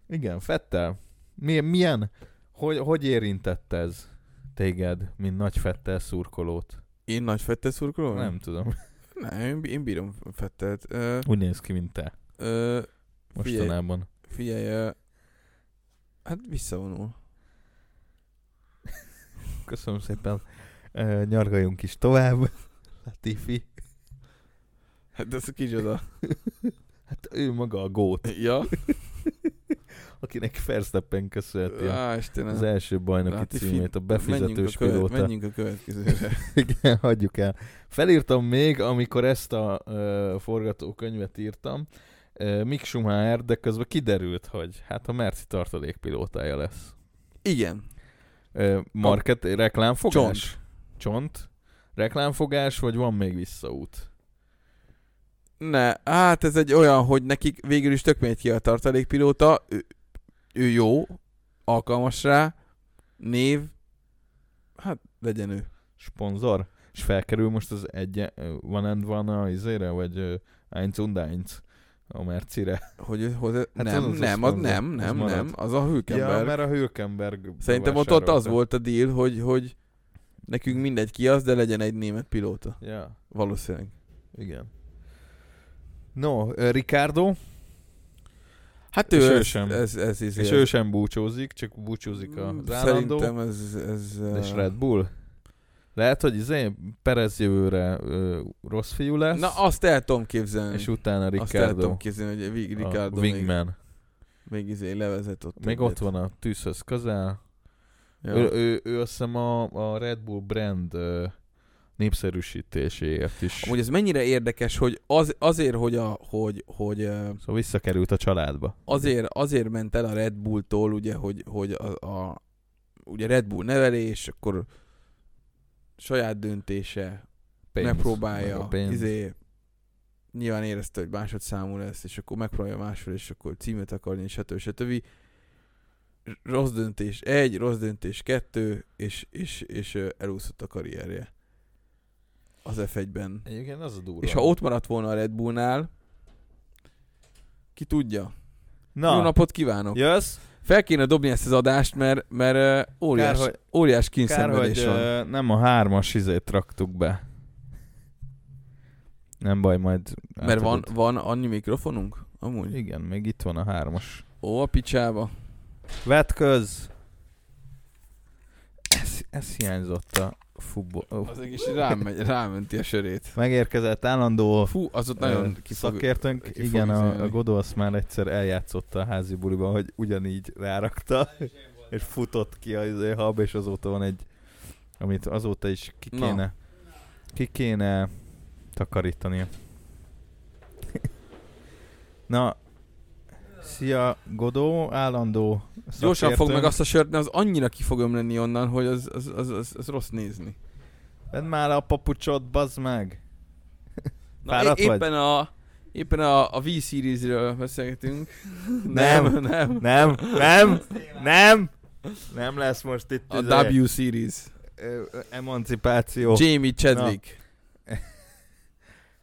[SPEAKER 1] Igen, Fettel. Milyen, milyen hogy, hogy érintett ez téged, mint nagy Fettel szurkolót?
[SPEAKER 2] Én nagy Fettel szurkoló?
[SPEAKER 1] Nem tudom.
[SPEAKER 2] Nem, én, én bírom Fettelt. Ö,
[SPEAKER 1] Úgy néz ki, mint te
[SPEAKER 2] ö, Figyelj.
[SPEAKER 1] mostanában.
[SPEAKER 2] figyelj, ö, hát visszavonul.
[SPEAKER 1] Köszönöm szépen. Ö, Nyargaljunk is tovább. Hát Latifi.
[SPEAKER 2] Hát ez kicsoda.
[SPEAKER 1] Hát ő maga a gót.
[SPEAKER 2] Ja,
[SPEAKER 1] akinek Verstappen köszönheti a,
[SPEAKER 2] Á,
[SPEAKER 1] az
[SPEAKER 2] Istenem.
[SPEAKER 1] első bajnoki
[SPEAKER 2] Hát, fi-
[SPEAKER 1] címét, a befizetős
[SPEAKER 2] menjünk a, követ,
[SPEAKER 1] pilóta.
[SPEAKER 2] menjünk a következőre.
[SPEAKER 1] Igen, hagyjuk el. Felírtam még, amikor ezt a ö, forgatókönyvet írtam, ö, Mick Schumacher, de közben kiderült, hogy hát a Merci tartalékpilótája lesz.
[SPEAKER 2] Igen.
[SPEAKER 1] Ö, market, reklámfogás?
[SPEAKER 2] Csont.
[SPEAKER 1] Csont? Reklámfogás, vagy van még visszaút?
[SPEAKER 2] Ne, hát ez egy olyan, hogy nekik végül is tök mindegy ki a tartalékpilóta, ő, ő jó, alkalmas rá, név, hát legyen ő.
[SPEAKER 1] Sponzor? És felkerül most az egy, van and one a izére, vagy ö, eins und eins a Mercire?
[SPEAKER 2] Hogy ő hozzá...
[SPEAKER 1] Hát
[SPEAKER 2] hát
[SPEAKER 1] az
[SPEAKER 2] nem,
[SPEAKER 1] az
[SPEAKER 2] az nem, az
[SPEAKER 1] szponzor.
[SPEAKER 2] nem,
[SPEAKER 1] Az
[SPEAKER 2] nem,
[SPEAKER 1] marad.
[SPEAKER 2] nem, az a Hülkenberg.
[SPEAKER 1] Ja, mert a Hülkenberg
[SPEAKER 2] Szerintem ott, ott
[SPEAKER 1] bevásárolta.
[SPEAKER 2] az volt a deal, hogy, hogy nekünk mindegy ki az, de legyen egy német pilóta.
[SPEAKER 1] Ja,
[SPEAKER 2] Valószínűleg.
[SPEAKER 1] igen. No, ö, Ricardo,
[SPEAKER 2] Hát
[SPEAKER 1] És
[SPEAKER 2] ő,
[SPEAKER 1] ő
[SPEAKER 2] ez,
[SPEAKER 1] sem.
[SPEAKER 2] Ez, ez, ez,
[SPEAKER 1] És ő sem búcsúzik, csak búcsúzik az állandó.
[SPEAKER 2] Mm, Szerintem ez... ez
[SPEAKER 1] És
[SPEAKER 2] eh,
[SPEAKER 1] Red Bull. Lehet, hogy izé, Perez jövőre ö, rossz fiú lesz,
[SPEAKER 2] Na, azt el tudom képzelni.
[SPEAKER 1] és utána
[SPEAKER 2] Azt el
[SPEAKER 1] Ricardo,
[SPEAKER 2] tudom képzelni, hogy Vig-
[SPEAKER 1] a
[SPEAKER 2] Ricardo még,
[SPEAKER 1] wingman.
[SPEAKER 2] még izé levezet ott.
[SPEAKER 1] Még, ott van a tűzhöz közel. Ja. Ő, ő, ő azt hiszem a, a Red Bull brand ö, népszerűsítéséért is.
[SPEAKER 2] Amúgy ez mennyire érdekes, hogy az, azért, hogy, a, hogy, hogy eh,
[SPEAKER 1] Szóval visszakerült a családba.
[SPEAKER 2] azért, azért ment el a Red Bulltól, ugye, hogy, hogy a, a, ugye Red Bull nevelés, akkor saját döntése,
[SPEAKER 1] Pénz,
[SPEAKER 2] megpróbálja,
[SPEAKER 1] meg a pénz.
[SPEAKER 2] Izé, nyilván érezte, hogy másodszámú lesz, és akkor megpróbálja máshol, és akkor címet akarni, és stb. stb. Rossz döntés egy, rossz döntés kettő, és, és, és ö, elúszott a karrierje az F1-ben.
[SPEAKER 1] Egyébként az a durva.
[SPEAKER 2] És ha ott maradt volna a Red Bullnál, ki tudja. Na. Jó
[SPEAKER 1] Na,
[SPEAKER 2] napot kívánok!
[SPEAKER 1] jössz?
[SPEAKER 2] Fel kéne dobni ezt az adást, mert, mert ö, óriás,
[SPEAKER 1] Kár,
[SPEAKER 2] kár,
[SPEAKER 1] hogy-
[SPEAKER 2] óriás
[SPEAKER 1] Kár, hogy
[SPEAKER 2] kínszenvedés van.
[SPEAKER 1] ö, nem a hármas izét raktuk be. Nem baj, majd...
[SPEAKER 2] Mert van,
[SPEAKER 1] átadod.
[SPEAKER 2] van annyi mikrofonunk? Amúgy.
[SPEAKER 1] Igen, még itt van a hármas.
[SPEAKER 2] Ó, a picsába.
[SPEAKER 1] Vetköz! Ez, ez hiányzott a futball. Oh.
[SPEAKER 2] Az egy kis rám megy, rámenti a sörét.
[SPEAKER 1] Megérkezett állandó
[SPEAKER 2] Fú, az ott
[SPEAKER 1] nagyon
[SPEAKER 2] nagyon izé, kifog...
[SPEAKER 1] szakértőnk.
[SPEAKER 2] ki fog
[SPEAKER 1] Igen, a,
[SPEAKER 2] izélni.
[SPEAKER 1] a Godó azt már egyszer eljátszotta a házi buliban, hogy ugyanígy rárakta, és futott ki a izé hab, és azóta van egy, amit azóta is ki
[SPEAKER 2] Na.
[SPEAKER 1] kéne, ki kéne takarítani. Na, szia Godó, állandó
[SPEAKER 2] Gyorsan fog meg
[SPEAKER 1] szakértőnk.
[SPEAKER 2] azt a sört, mert az annyira ki fog ömleni onnan, hogy az, az, az, az, az rossz nézni.
[SPEAKER 1] Vedd már le a papucsot, bazd meg!
[SPEAKER 2] Na,
[SPEAKER 1] Fáradt
[SPEAKER 2] é-
[SPEAKER 1] vagy?
[SPEAKER 2] éppen a, éppen a, a V-series-ről beszélgetünk.
[SPEAKER 1] Nem.
[SPEAKER 2] nem.
[SPEAKER 1] Nem, nem, nem! Nem lesz most itt
[SPEAKER 2] A
[SPEAKER 1] izé,
[SPEAKER 2] W-series.
[SPEAKER 1] ö, ö, emancipáció.
[SPEAKER 2] Jamie Chadwick.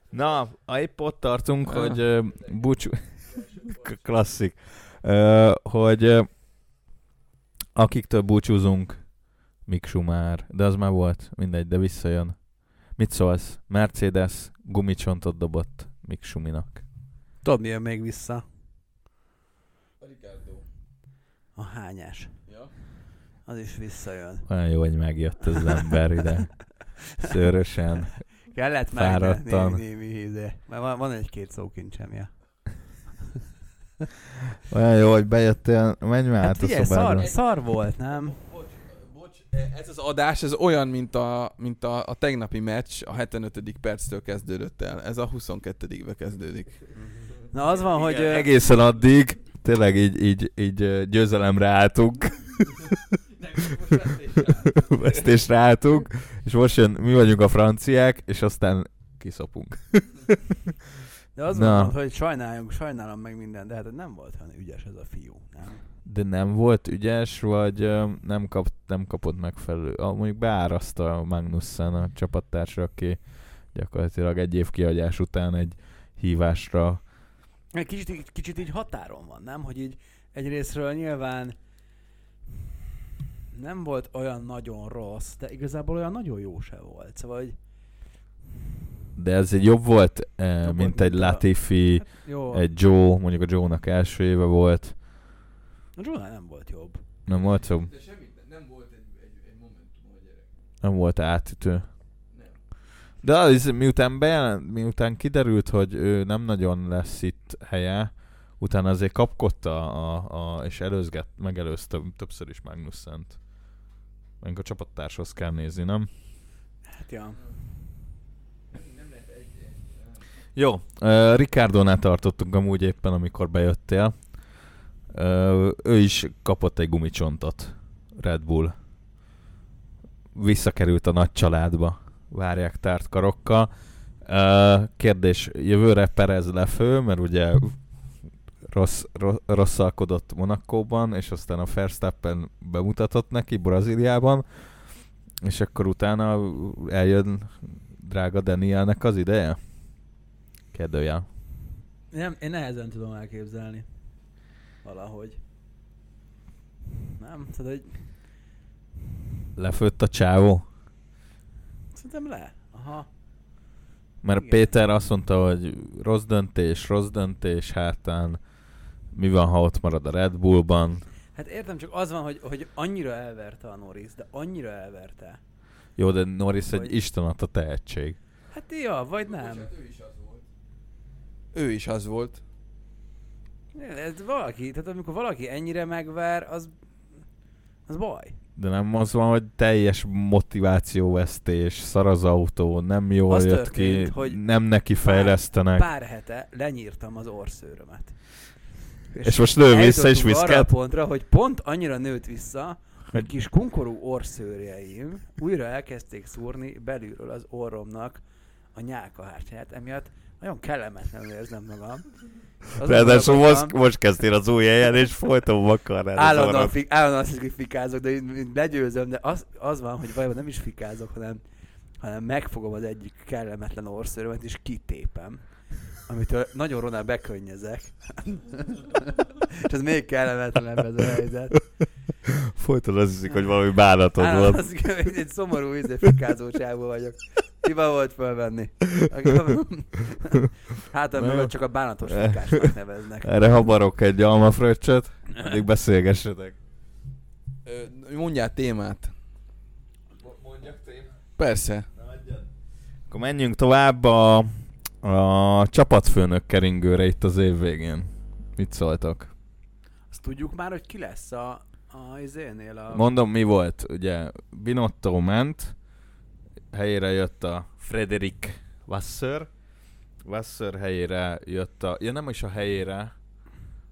[SPEAKER 1] Na, a épp ott tartunk,
[SPEAKER 2] Ah.
[SPEAKER 1] hogy ö, búcsú... K- Klasszik. Ö, hogy ö, akiktől búcsúzunk, Mik Schumacher, de az már volt, mindegy, de visszajön. Mit szólsz? Mercedes gumicsontot dobott Mik Schuminak.
[SPEAKER 3] Tudod, mi jön még vissza?
[SPEAKER 2] A Ricardo.
[SPEAKER 3] A hányás.
[SPEAKER 2] Ja.
[SPEAKER 3] Az is visszajön.
[SPEAKER 1] Olyan jó, hogy megjött az ember ide. Szőrösen.
[SPEAKER 3] Kellett már ide
[SPEAKER 1] Fáradtan. Hát
[SPEAKER 3] némi, némi ide. Mert van, van egy-két szókincsemje.
[SPEAKER 1] Olyan jó, hogy bejöttél, menj már
[SPEAKER 3] Hát
[SPEAKER 1] hát,
[SPEAKER 3] figyelj,
[SPEAKER 1] a szobádba.
[SPEAKER 3] szar, szar volt, nem?
[SPEAKER 2] Bocs, bocs, eh, ez az adás, ez olyan, mint a, mint a, a tegnapi meccs, a 75. perctől kezdődött el. Ez a 22 be kezdődik.
[SPEAKER 3] Na az van, hogy...
[SPEAKER 1] Igen,
[SPEAKER 3] ö,
[SPEAKER 1] egészen addig tényleg így, így, így ö, győzelemre álltunk. Vesztésre álltunk, és most jön, mi vagyunk a franciák, és aztán kiszapunk.
[SPEAKER 3] De az
[SPEAKER 1] Na.
[SPEAKER 3] van, hogy sajnáljunk, sajnálom meg minden, de hát nem volt olyan ügyes ez a fiú, nem?
[SPEAKER 1] De nem volt ügyes, vagy ö, nem, kap, nem kapott megfelelő. A, mondjuk beáraszta Magnussen a csapattársa, aki gyakorlatilag egy év kihagyás után egy hívásra.
[SPEAKER 3] Egy Kicsit, így- kicsit így határon van, nem? Hogy így egyrésztről nyilván nem volt olyan nagyon rossz, de igazából olyan nagyon jó se volt. Szóval, hogy
[SPEAKER 1] De ez egy jobb volt, eh,
[SPEAKER 3] volt,
[SPEAKER 1] mint, mint egy
[SPEAKER 3] mint a-
[SPEAKER 1] Latifi,
[SPEAKER 3] hát jó, egy...
[SPEAKER 1] egy Joe, mondjuk a Joe-nak első éve volt.
[SPEAKER 3] a Jordan nem volt jobb.
[SPEAKER 1] Nem volt szó,
[SPEAKER 2] De semmit, nem volt egy, egy, egy momentum a gyerek.
[SPEAKER 1] nem volt átütő.
[SPEAKER 2] Nem.
[SPEAKER 1] De az, miután, bejelent, miután kiderült, hogy ő nem nagyon lesz itt helye, utána azért kapkodta, a, a, és előzget, megelőzte többször is Magnussent. Meg a csapattárshoz kell nézni, nem?
[SPEAKER 3] Hát ja.
[SPEAKER 1] Jó, uh, Ricardo-nál tartottunk amúgy éppen, amikor bejöttél. Uh, ő is kapott egy gumicsontot. Red Bull. Visszakerült a nagy családba. Várják tárt karokkal. Uh, kérdés, jövőre Perez lefő, mert ugye rossz, rossz, rosszalkodott Monakóban, és aztán a Verstappen bemutatott neki Brazíliában, és akkor utána eljön drága Danielnek az ideje? Kérdőjel.
[SPEAKER 3] Nem, én nehezen tudom elképzelni. Valahogy. Nem, tehát hogy
[SPEAKER 1] Lefőtt a csávó?
[SPEAKER 3] szerintem le. Aha.
[SPEAKER 1] Mert
[SPEAKER 3] Igen.
[SPEAKER 1] Péter azt mondta, hogy rossz döntés, rossz döntés hátán, mi van, ha ott marad a Red Bullban?
[SPEAKER 3] Hát értem, csak az van, hogy, hogy annyira elverte a Norris, de annyira elverte.
[SPEAKER 1] Jó, de Norris egy
[SPEAKER 3] Vagy-
[SPEAKER 1] isten adta tehetség.
[SPEAKER 3] Hát ja, vagy nem.
[SPEAKER 2] Bocsánat, hát ő is az volt. Ő is az volt.
[SPEAKER 3] Ez valaki, tehát amikor valaki ennyire megvár, az, az baj.
[SPEAKER 1] De nem az van, hogy teljes motivációvesztés, szar az autó, nem jól
[SPEAKER 3] Az
[SPEAKER 1] jött
[SPEAKER 3] történt,
[SPEAKER 1] ki,
[SPEAKER 3] hogy
[SPEAKER 1] nem neki fejlesztenek,
[SPEAKER 3] Pár hete lenyírtam az orszőrömet.
[SPEAKER 1] és most lő vissza és
[SPEAKER 3] Eljutottunk arra a
[SPEAKER 1] viszket.
[SPEAKER 3] pontra, hogy pont annyira nőtt vissza, hogy kis kunkorú orszőrjeim újra elkezdték szúrni belülről az orromnak a nyálkahártyáját, emiatt nagyon kellemetlenül érzem magam. Azon
[SPEAKER 1] Ráadásul most,
[SPEAKER 3] gondolkodtam,
[SPEAKER 1] most kezdtél az új helyen, és folyton vakarnál.
[SPEAKER 3] Állandóan, fi, állandóan azt hiszik, hogy fikázok, de én, én legyőzöm, de az, az van, hogy valójában nem is fikázok, hanem, hanem megfogom az egyik kellemetlen orszörömet, és kitépem. Amitől nagyon ronál bekönnyezek. és ez még kellemetlenebb ez a helyzet.
[SPEAKER 1] Folyton azt hiszik, hogy valami bánatod
[SPEAKER 3] Állandóan
[SPEAKER 1] volt.
[SPEAKER 3] azt hiszik, hogy egy szomorú ízé fikázó csávó vagyok. Hiba volt fölvenni. Hát,
[SPEAKER 1] Na jó.
[SPEAKER 3] meg csak a bánatos fikásnak neveznek.
[SPEAKER 1] Erre habarok egy almafröccsöt, addig beszélgessetek.
[SPEAKER 2] Ö, mondjál témát.
[SPEAKER 1] Mondjak témát.
[SPEAKER 2] Persze.
[SPEAKER 1] Akkor menjünk tovább a, a csapatfőnök keringőre itt az év végén. Mit szóltak?
[SPEAKER 3] Azt tudjuk már, hogy ki lesz a, a izénél a...
[SPEAKER 1] Mondom, mi volt? Ugye Binotto ment, helyére jött a Frederick Vasseur, Vasseur helyére jött a... Ja nem is a helyére,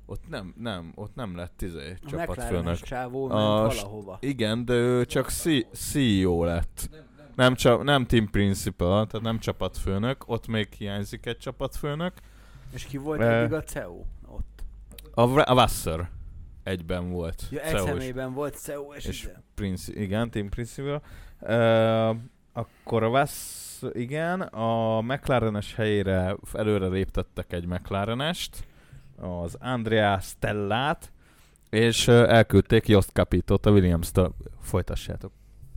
[SPEAKER 1] ott nem, nem, ott nem lett izé,
[SPEAKER 3] A
[SPEAKER 1] csapatfőnök.
[SPEAKER 3] McLaren-es csávó ment
[SPEAKER 1] A s-
[SPEAKER 3] valahova.
[SPEAKER 1] Igen, de ő csak C- CEO lett. Nem, csa- nem team principal, tehát nem csapatfőnök, ott még hiányzik egy csapatfőnök.
[SPEAKER 3] És ki volt
[SPEAKER 1] E-
[SPEAKER 3] eddig a CEO ott?
[SPEAKER 1] A, Vra- a Vassar egyben volt. Szóval
[SPEAKER 3] Ja, egy
[SPEAKER 1] CEO-s
[SPEAKER 3] személyben volt CEO, és,
[SPEAKER 1] E
[SPEAKER 3] izé.
[SPEAKER 1] És
[SPEAKER 3] és
[SPEAKER 1] Prince, igen, Team Principal. Uh, akkor a Vass, igen, a McLarenes helyére előre léptettek egy McLarenest, az Andrea Stellát, és ö, elküldték Jost Capitot a Williams-től. Folytassátok.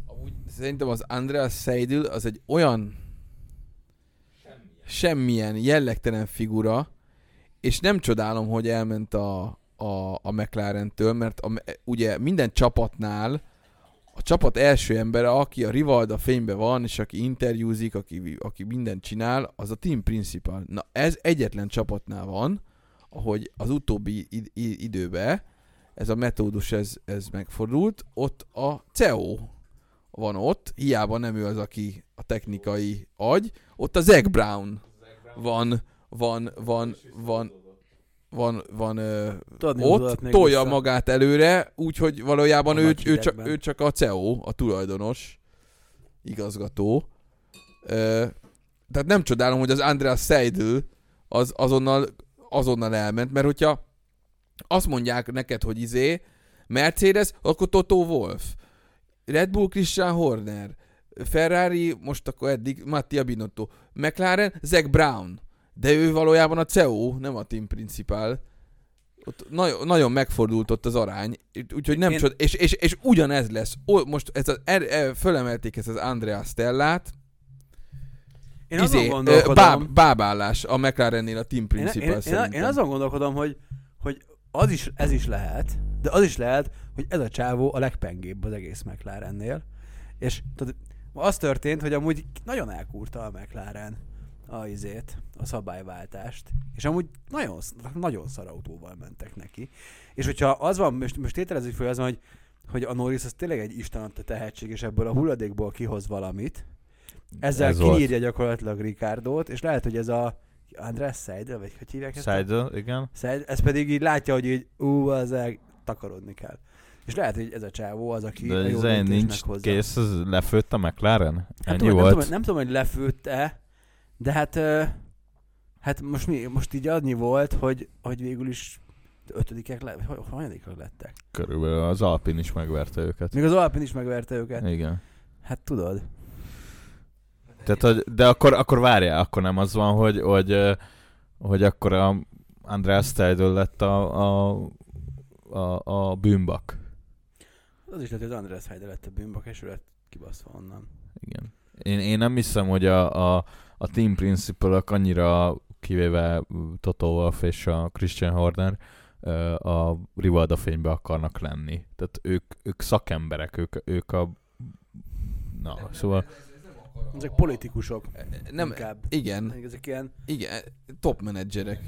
[SPEAKER 2] Amúgy szerintem az Andreas Seidel az egy olyan semmilyen jellegtelen figura, és nem csodálom, hogy elment a, a, a McLaren-től, mert a, ugye minden csapatnál a csapat első embere, aki a rivalda fénybe van, és aki interjúzik, aki, aki mindent csinál, az a team principal. Na ez egyetlen csapatnál van, ahogy az utóbbi id- i- időben ez a metódus ez, ez megfordult, ott a CEO van ott, hiába nem ő az, aki a technikai agy, ott a Zac Brown van, van, van, van, van, van, ö, ott tolja magát előre, úgyhogy valójában
[SPEAKER 3] A
[SPEAKER 2] ő,
[SPEAKER 3] nagy
[SPEAKER 2] ő, csak,
[SPEAKER 3] hidegben.
[SPEAKER 2] ő csak a CEO, a tulajdonos, igazgató. Ö, tehát nem csodálom, hogy az András Seidl az azonnal, azonnal elment, mert hogyha azt mondják neked, hogy izé, Mercedes, akkor Toto Wolf, Red Bull Christian Horner, Ferrari, most akkor eddig Mattia Binotto, McLaren, Zac Brown. De ő valójában a CEO, nem a team principal. Ott nagyon, nagyon megfordult ott az arány, úgyhogy nem
[SPEAKER 3] Én-
[SPEAKER 2] Én... csod, és, és, és, ugyanez lesz. Ó, most ez az, er, er, fölemelték ezt az Andrea Stellát, Izé,
[SPEAKER 3] Én
[SPEAKER 1] izé,
[SPEAKER 3] azon
[SPEAKER 2] ö,
[SPEAKER 3] gondolkodom...
[SPEAKER 2] báb, bábálás a McLarennél a team
[SPEAKER 3] Én-
[SPEAKER 2] principal
[SPEAKER 3] én, én, én,
[SPEAKER 2] szerintem.
[SPEAKER 3] én, azon gondolkodom, hogy, hogy az is, ez is lehet, de az is lehet, hogy ez a csávó a legpengébb az egész McLarennél. És tudod, az történt, hogy amúgy nagyon elkúrta a McLaren a izét, a szabályváltást. És amúgy nagyon, sz- nagyon szar autóval mentek neki. És hogyha az van, most, most tételezzük fel, hogy az van, hogy, hogy a Norris az tényleg egy istenadta tehetség, és ebből a hulladékból kihoz valamit, ezzel
[SPEAKER 1] Ez
[SPEAKER 3] ez
[SPEAKER 1] volt.
[SPEAKER 3] kinyírja gyakorlatilag Ricardót, és lehet, hogy ez a András Seidel, vagy hogy hívják ezt? a-
[SPEAKER 1] Side, igen.
[SPEAKER 3] Szed, ez pedig így látja, hogy így ú, az takarodni kell. És lehet, hogy ez a csávó az, aki
[SPEAKER 1] De
[SPEAKER 3] a jó
[SPEAKER 1] ez
[SPEAKER 3] döntést
[SPEAKER 1] nincs
[SPEAKER 3] meghozza.
[SPEAKER 1] kész, ez lefőtt a McLaren?
[SPEAKER 3] nem,
[SPEAKER 1] Ennyi
[SPEAKER 3] tudom, nem, tudom,
[SPEAKER 1] volt?
[SPEAKER 3] nem tudom, hogy lefőtte, de hát, ö, hát most, mi, most így annyi volt, hogy, hogy végül is ötödikek, le, hogy hanyadikak lettek.
[SPEAKER 1] Körülbelül az Alpin is megverte őket.
[SPEAKER 3] Még az Alpin is megverte őket.
[SPEAKER 1] Igen.
[SPEAKER 3] Hát tudod.
[SPEAKER 1] Tehát, hogy, de akkor, akkor várjál, akkor nem az van, hogy, hogy, ö, hogy akkor a András Teidl lett a, a, a, a bűnbak.
[SPEAKER 3] Az is lehet, hogy az András Heide lett a bűnbak, és ő lett kibaszva onnan.
[SPEAKER 1] Igen. Én, én nem hiszem, hogy a, a, a team principal annyira kivéve Toto Wolff és a Christian Horner ö, a Rivalda fénybe akarnak lenni. Tehát ők, ők szakemberek, ők, ők a... Na, szóval...
[SPEAKER 3] Ezek politikusok.
[SPEAKER 2] Nem,
[SPEAKER 3] Inkább.
[SPEAKER 2] igen,
[SPEAKER 3] Ezek ilyen...
[SPEAKER 2] igen, top menedzserek.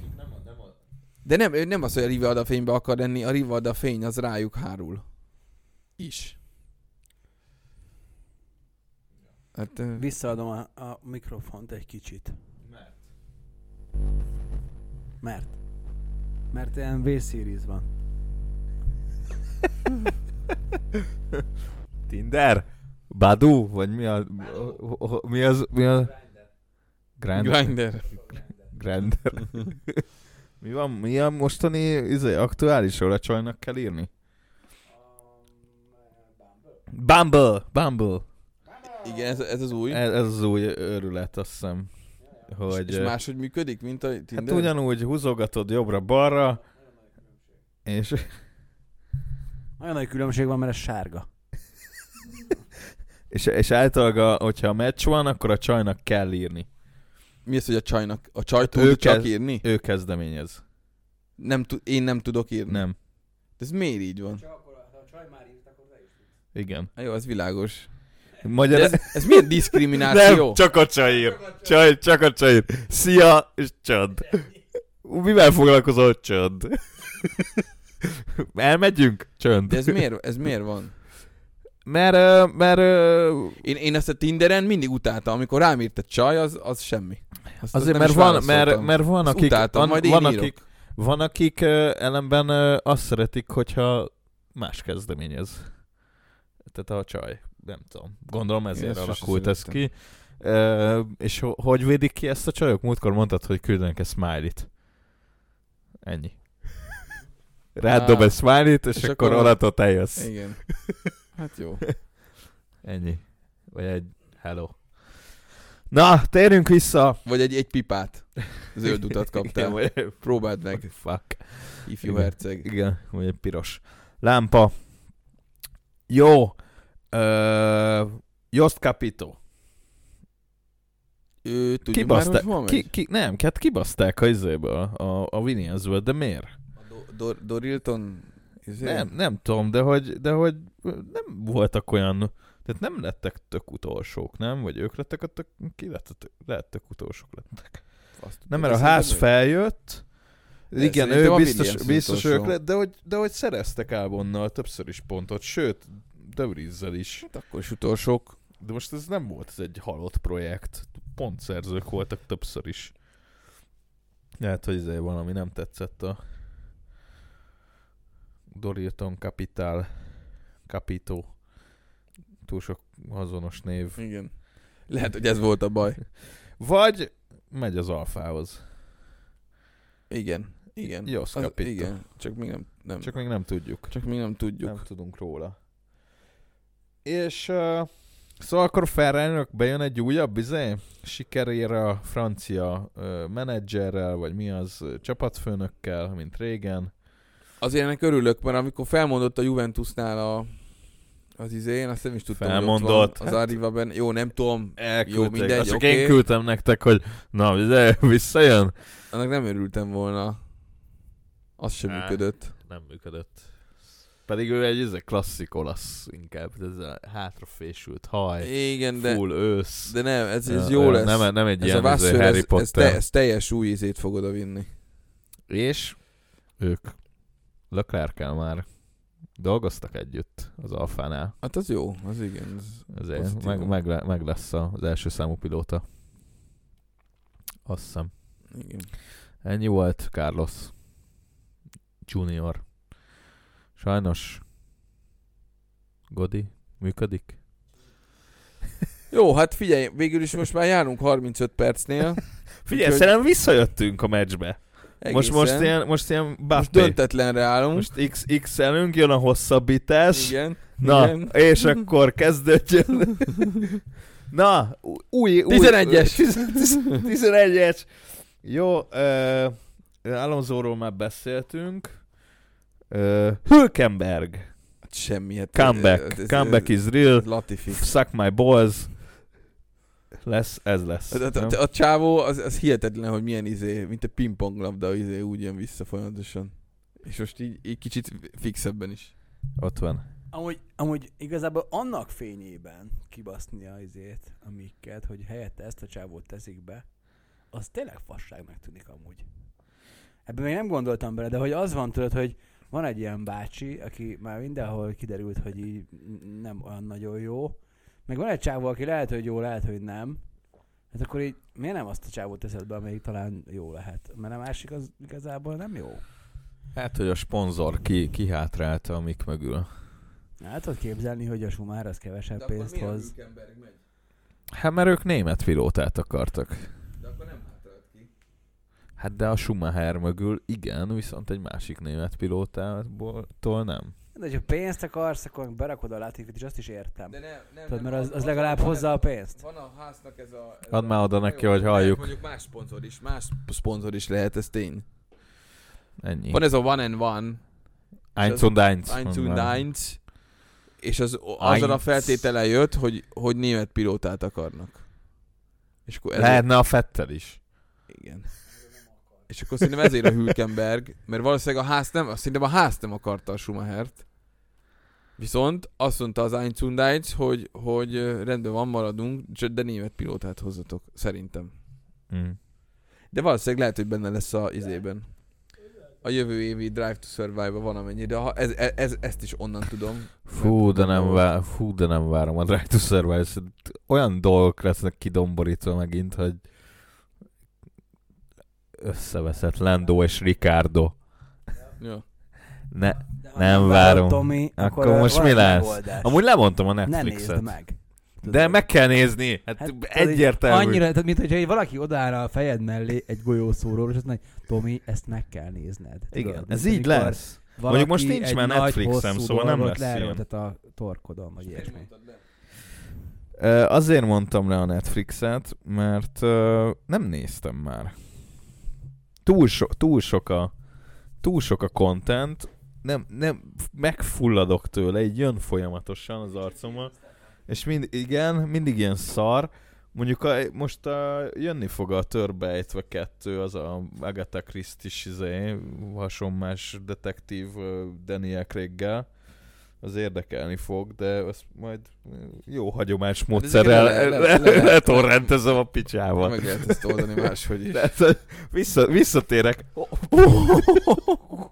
[SPEAKER 2] De nem, ő nem az, hogy a Rivalda fénybe akar lenni, a Rivalda fény az rájuk hárul. Is. Hát, ö,
[SPEAKER 3] Visszaadom a, a mikrofont egy kicsit. Mert. Mert ilyen V-series van.
[SPEAKER 1] Tinder? Badu? Vagy mi a... Mi az... Mi az... Grinder.
[SPEAKER 2] Grinder.
[SPEAKER 1] Grinder. mi van? Mi a mostani izé, aktuálisról a csajnak kell írni? Bumble! Bumble!
[SPEAKER 2] Igen, ez, ez az új.
[SPEAKER 1] Ez, ez az új őrület, azt hiszem. Hogy,
[SPEAKER 2] és, és máshogy működik, mint a Tinder?
[SPEAKER 1] hát ugyanúgy húzogatod jobbra-balra, és
[SPEAKER 3] Nagyon nagy különbség van, mert ez sárga.
[SPEAKER 1] És, és általában, a, hogyha a meccs van, akkor a csajnak kell írni.
[SPEAKER 2] Mi az, hogy a csajnak? A csaj tud
[SPEAKER 1] ők
[SPEAKER 2] csak
[SPEAKER 1] ez-
[SPEAKER 2] írni?
[SPEAKER 1] Ő kezdeményez.
[SPEAKER 2] Nem tud, én nem tudok írni.
[SPEAKER 1] Nem.
[SPEAKER 2] De ez miért így van?
[SPEAKER 1] Igen.
[SPEAKER 2] Hát jó, ez világos.
[SPEAKER 1] Magyar...
[SPEAKER 2] De ez, ez milyen diszkrimináció?
[SPEAKER 1] Nem, csak a csaj ír. Csaj, csak a csaj ír. Szia, és csönd. Mivel foglalkozol? Csönd. Elmegyünk? Csönd.
[SPEAKER 2] De ez miért, ez miért van?
[SPEAKER 1] Mert, ö, mert, ö,
[SPEAKER 2] Én, én ezt a Tinderen mindig utáltam, amikor rám írt a csaj, az, az semmi. Azt,
[SPEAKER 1] azért,
[SPEAKER 2] nem
[SPEAKER 1] mert
[SPEAKER 2] is
[SPEAKER 1] van,
[SPEAKER 2] válaszoltam.
[SPEAKER 1] mert, mert van,
[SPEAKER 2] Azt
[SPEAKER 1] akik,
[SPEAKER 2] utáltam,
[SPEAKER 1] van,
[SPEAKER 2] majd én
[SPEAKER 1] van,
[SPEAKER 2] írok.
[SPEAKER 1] akik, van, akik ö, ellenben ö, azt szeretik, hogyha más kezdeményez. Tehát a csaj, nem tudom. Gondolom
[SPEAKER 2] Én
[SPEAKER 1] ezért
[SPEAKER 2] ezt sose
[SPEAKER 1] alakult ez
[SPEAKER 2] szerettem.
[SPEAKER 1] ki. Ö, és ho- hogy védik ki ezt a csajok? Múltkor mondtad, hogy küldenek egy smiley-t. Ennyi. Rád
[SPEAKER 2] Á,
[SPEAKER 1] dob egy smiley-t, és,
[SPEAKER 2] és
[SPEAKER 1] és akkor
[SPEAKER 2] akkor-
[SPEAKER 1] onnantól te jössz.
[SPEAKER 2] Igen. Hát jó.
[SPEAKER 1] Ennyi. Vagy egy hello. Na, térjünk vissza.
[SPEAKER 2] Vagy egy, egy pipát. Zöld utat kaptál.
[SPEAKER 1] Igen, vagy-
[SPEAKER 2] Próbáld meg,
[SPEAKER 1] Fuck.
[SPEAKER 2] ifjú
[SPEAKER 1] Igen.
[SPEAKER 2] herceg.
[SPEAKER 1] Igen, vagy egy piros lámpa. Jó. Ö, Jost Capito.
[SPEAKER 2] Ő tudjuk már, hogy
[SPEAKER 1] Kibaszták.
[SPEAKER 2] hol megy?
[SPEAKER 1] Ki, ki, nem, hát kibaszták a izéből, a, a Williamsből, de miért?
[SPEAKER 2] A Do- Dor- Dorilton? izé?
[SPEAKER 1] Nem, nem tudom, de hogy, de hogy nem voltak olyan, tehát nem lettek tök utolsók, nem? Vagy ők lettek a tök, ki lett a tök, lehet tök utolsók lettek.
[SPEAKER 2] Azt
[SPEAKER 1] Nem,
[SPEAKER 2] tudod,
[SPEAKER 1] mert a
[SPEAKER 2] szerintem
[SPEAKER 1] ház
[SPEAKER 2] ő.
[SPEAKER 1] feljött,
[SPEAKER 2] De
[SPEAKER 1] igen,
[SPEAKER 2] szerintem
[SPEAKER 1] ő
[SPEAKER 2] a
[SPEAKER 1] biztos,
[SPEAKER 2] Williams
[SPEAKER 1] biztos
[SPEAKER 2] utolsó.
[SPEAKER 1] ők lett, de hogy, de hogy szereztek Albonnal többször is pontot, sőt, De Vries-zel is.
[SPEAKER 2] Hát akkor is utolsók.
[SPEAKER 1] De most ez nem volt, ez egy halott projekt. Pontszerzők voltak többször is. Lehet, hogy ezért valami nem tetszett a Dorilton Capital Capito. Túl sok azonos név.
[SPEAKER 2] Igen. Lehet, hogy ez volt a baj.
[SPEAKER 1] Vagy megy az alfához.
[SPEAKER 2] Igen. Igen.
[SPEAKER 1] Josz
[SPEAKER 2] Az,
[SPEAKER 1] Capito.
[SPEAKER 2] igen. Csak még nem, nem.
[SPEAKER 1] Csak még nem tudjuk.
[SPEAKER 2] Csak még nem tudjuk.
[SPEAKER 1] Nem tudunk róla. És uh, szóval akkor ferrari bejön egy újabb izé, sikerére a francia uh, menedzserrel, vagy mi az, ö, csapatfőnökkel, mint régen.
[SPEAKER 2] Azért ennek örülök, mert amikor felmondott a Juventusnál a, az izé, én azt nem is tudtam, hogy ott
[SPEAKER 1] Felmondott.
[SPEAKER 2] van, az Arriva ben, jó, nem tudom,
[SPEAKER 1] Elküldték.
[SPEAKER 2] Jó, mindegy,
[SPEAKER 1] Azt csak
[SPEAKER 2] oké.
[SPEAKER 1] én küldtem nektek, hogy na, izé, visszajön.
[SPEAKER 2] annak nem örültem volna. Az sem
[SPEAKER 1] Á.
[SPEAKER 2] működött.
[SPEAKER 1] Nem működött. Pedig ő egy ez klasszik olasz inkább, ez a hátrafésült haj,
[SPEAKER 2] Igen, de,
[SPEAKER 1] full ősz.
[SPEAKER 2] de nem, ez, ez
[SPEAKER 1] Ö,
[SPEAKER 2] jó
[SPEAKER 1] ö,
[SPEAKER 2] lesz.
[SPEAKER 1] Nem, nem egy
[SPEAKER 2] ez a
[SPEAKER 1] ilyen ez
[SPEAKER 2] Vasseur,
[SPEAKER 1] Harry
[SPEAKER 2] ez,
[SPEAKER 1] Potter.
[SPEAKER 2] ez, te, ez teljes új ízét fog oda vinni.
[SPEAKER 1] És ők Leclerc-kel már dolgoztak együtt az Alfánál.
[SPEAKER 2] Hát az jó, az igen. Ez,
[SPEAKER 1] Ezért
[SPEAKER 2] Pozitív.
[SPEAKER 1] meg, meg, le- meg, lesz az első számú pilóta. Azt hiszem.
[SPEAKER 2] igen.
[SPEAKER 1] Ennyi volt Carlos Junior. Sajnos Godi működik.
[SPEAKER 2] Jó, hát figyelj, végül is most már járunk 35 percnél.
[SPEAKER 1] Figyelj,
[SPEAKER 2] Úgyhogy-
[SPEAKER 1] szerintem visszajöttünk a meccsbe. Most,
[SPEAKER 2] Egészen.
[SPEAKER 1] most ilyen, most ilyen
[SPEAKER 2] most
[SPEAKER 1] Bappé.
[SPEAKER 2] döntetlenre állunk. Most,
[SPEAKER 1] Most X, X elünk, jön a hosszabbítás.
[SPEAKER 2] igen.
[SPEAKER 1] Na,
[SPEAKER 2] igen.
[SPEAKER 1] és akkor kezdődjön. Na, új, új
[SPEAKER 2] 11-es.
[SPEAKER 1] 11-es. Jó, uh, Alonsoról már beszéltünk. Uh, Hülkenberg.
[SPEAKER 2] Hát semmi. Hát,
[SPEAKER 1] Comeback. Comeback is real.
[SPEAKER 2] Latifi.
[SPEAKER 1] Suck my balls. Lesz, ez lesz.
[SPEAKER 2] A,
[SPEAKER 1] nem?
[SPEAKER 2] Hát, a, a, a csávó, az, az hihetetlen, hogy milyen izé, mint egy pingponglabda izé, úgy jön vissza folyamatosan. És most így, így kicsit fixebben is.
[SPEAKER 1] Ott van.
[SPEAKER 3] Amúgy, amúgy igazából annak fényében kibaszni a izét, amiket, hogy helyette ezt a csávót teszik be, az tényleg fasságnak tűnik amúgy. Ebben még nem gondoltam bele, de hogy az van tudod, hogy van egy ilyen bácsi, aki már mindenhol kiderült, hogy így n- nem olyan nagyon jó, meg van egy csávó, aki lehet, hogy jó, lehet, hogy nem. Hát akkor így miért nem azt a csávót teszed be, amelyik talán jó lehet? Mert a másik az igazából nem jó.
[SPEAKER 1] Hát, hogy a sponzor ki, kihátrálta a mik mögül.
[SPEAKER 3] Hát tudod képzelni, hogy a Sumár az kevesebb pénzt hoz.
[SPEAKER 2] megy?
[SPEAKER 1] Hát, mert ők német pilótát akartak.
[SPEAKER 2] De akkor nem hátrált ki.
[SPEAKER 1] Hát de a Schumacher mögül igen, viszont egy másik német pilótából nem.
[SPEAKER 3] De hogyha pénzt akarsz, akkor berakod a Latifit, és azt is értem.
[SPEAKER 2] nem, nem,
[SPEAKER 3] Tudod, mert az, az legalább hozza a pénzt.
[SPEAKER 2] Van a háznak ez a... Ez
[SPEAKER 1] Add
[SPEAKER 2] a-
[SPEAKER 1] már oda
[SPEAKER 2] Na
[SPEAKER 1] neki,
[SPEAKER 2] jó,
[SPEAKER 1] hogy
[SPEAKER 2] lehet
[SPEAKER 1] halljuk.
[SPEAKER 2] Mondjuk más szponzor is, más szponzor is lehet, ez tény.
[SPEAKER 1] Ennyi.
[SPEAKER 2] Van ez a one and one,
[SPEAKER 1] Eins und eins.
[SPEAKER 2] eins
[SPEAKER 1] mondd
[SPEAKER 2] und
[SPEAKER 1] már.
[SPEAKER 2] eins, és az, azzal a
[SPEAKER 1] Eins.
[SPEAKER 2] feltétele jött, hogy, hogy német pilótát akarnak. És akkor ezért,
[SPEAKER 1] Lehetne a Fettel is.
[SPEAKER 2] Igen. És akkor szerintem ezért a Hülkenberg, mert valószínűleg a ház nem, szerintem a ház nem akarta a Schumachert. Viszont azt mondta az Eins und eins, hogy, hogy ö, rendben van, maradunk, csak de német pilótát hozzatok, szerintem.
[SPEAKER 1] Mm.
[SPEAKER 2] De valószínűleg lehet, hogy benne lesz a izében. A jövő évi Drive to Survive-ban van amennyi, de ha ez, e, ez, ezt is onnan tudom.
[SPEAKER 1] Fú, de nem, vá- fú, de nem várom a Drive to Survive. Szerint Olyan dolgok lesznek kidomborítva megint, hogy összeveszett Lando és Ricardo.
[SPEAKER 2] Ja.
[SPEAKER 1] Ne.
[SPEAKER 3] De ha
[SPEAKER 1] Nem
[SPEAKER 3] várod,
[SPEAKER 1] várom.
[SPEAKER 3] Tomi,
[SPEAKER 1] Akkor
[SPEAKER 3] ö,
[SPEAKER 1] most
[SPEAKER 3] van
[SPEAKER 1] mi
[SPEAKER 3] egy
[SPEAKER 1] lesz?
[SPEAKER 3] megoldás.
[SPEAKER 1] Amúgy lemondtam a
[SPEAKER 3] ne nézd
[SPEAKER 1] Netflixet.
[SPEAKER 3] meg. Tudod,
[SPEAKER 1] De meg kell nézni. Hát,
[SPEAKER 3] tudod, így
[SPEAKER 1] egyértelmű.
[SPEAKER 3] Annyira, tehát, mint hogyha így valaki odállna a fejed mellé egy golyószóról, és azt mondja, hogy Tomi, ezt meg kell nézned. Tudod,
[SPEAKER 1] Igen,
[SPEAKER 3] mint
[SPEAKER 1] ez így
[SPEAKER 3] amikor
[SPEAKER 1] lesz.
[SPEAKER 3] valaki
[SPEAKER 1] Mondjuk most nincs
[SPEAKER 3] egy
[SPEAKER 1] már
[SPEAKER 3] nagy,
[SPEAKER 1] Netflixem,
[SPEAKER 3] hosszú
[SPEAKER 1] szóval nem
[SPEAKER 3] dolgot
[SPEAKER 1] lesz ilyen.
[SPEAKER 3] leerőltet a torkodon, vagy ilyesmi.
[SPEAKER 1] Ö, Azért mondtam le a Netflixet, mert ö, nem néztem már. Túl, so, túl sok a túl sok a content, nem, nem, megfulladok tőle, így jön folyamatosan az arcomon, és mind, igen, mindig ilyen szar. Mondjuk a, most a, jönni fog a törbeejtve kettő, az a Agatha Christie-s izé, hasonmás detektív ö, Daniel craig az érdekelni fog, de azt majd ö, jó hagyományos módszerrel
[SPEAKER 2] le- Hát le- le- le-
[SPEAKER 1] letorrentezem a picsával.
[SPEAKER 2] Meg lehet ezt oldani máshogy is.
[SPEAKER 1] De, de, vissza, visszatérek.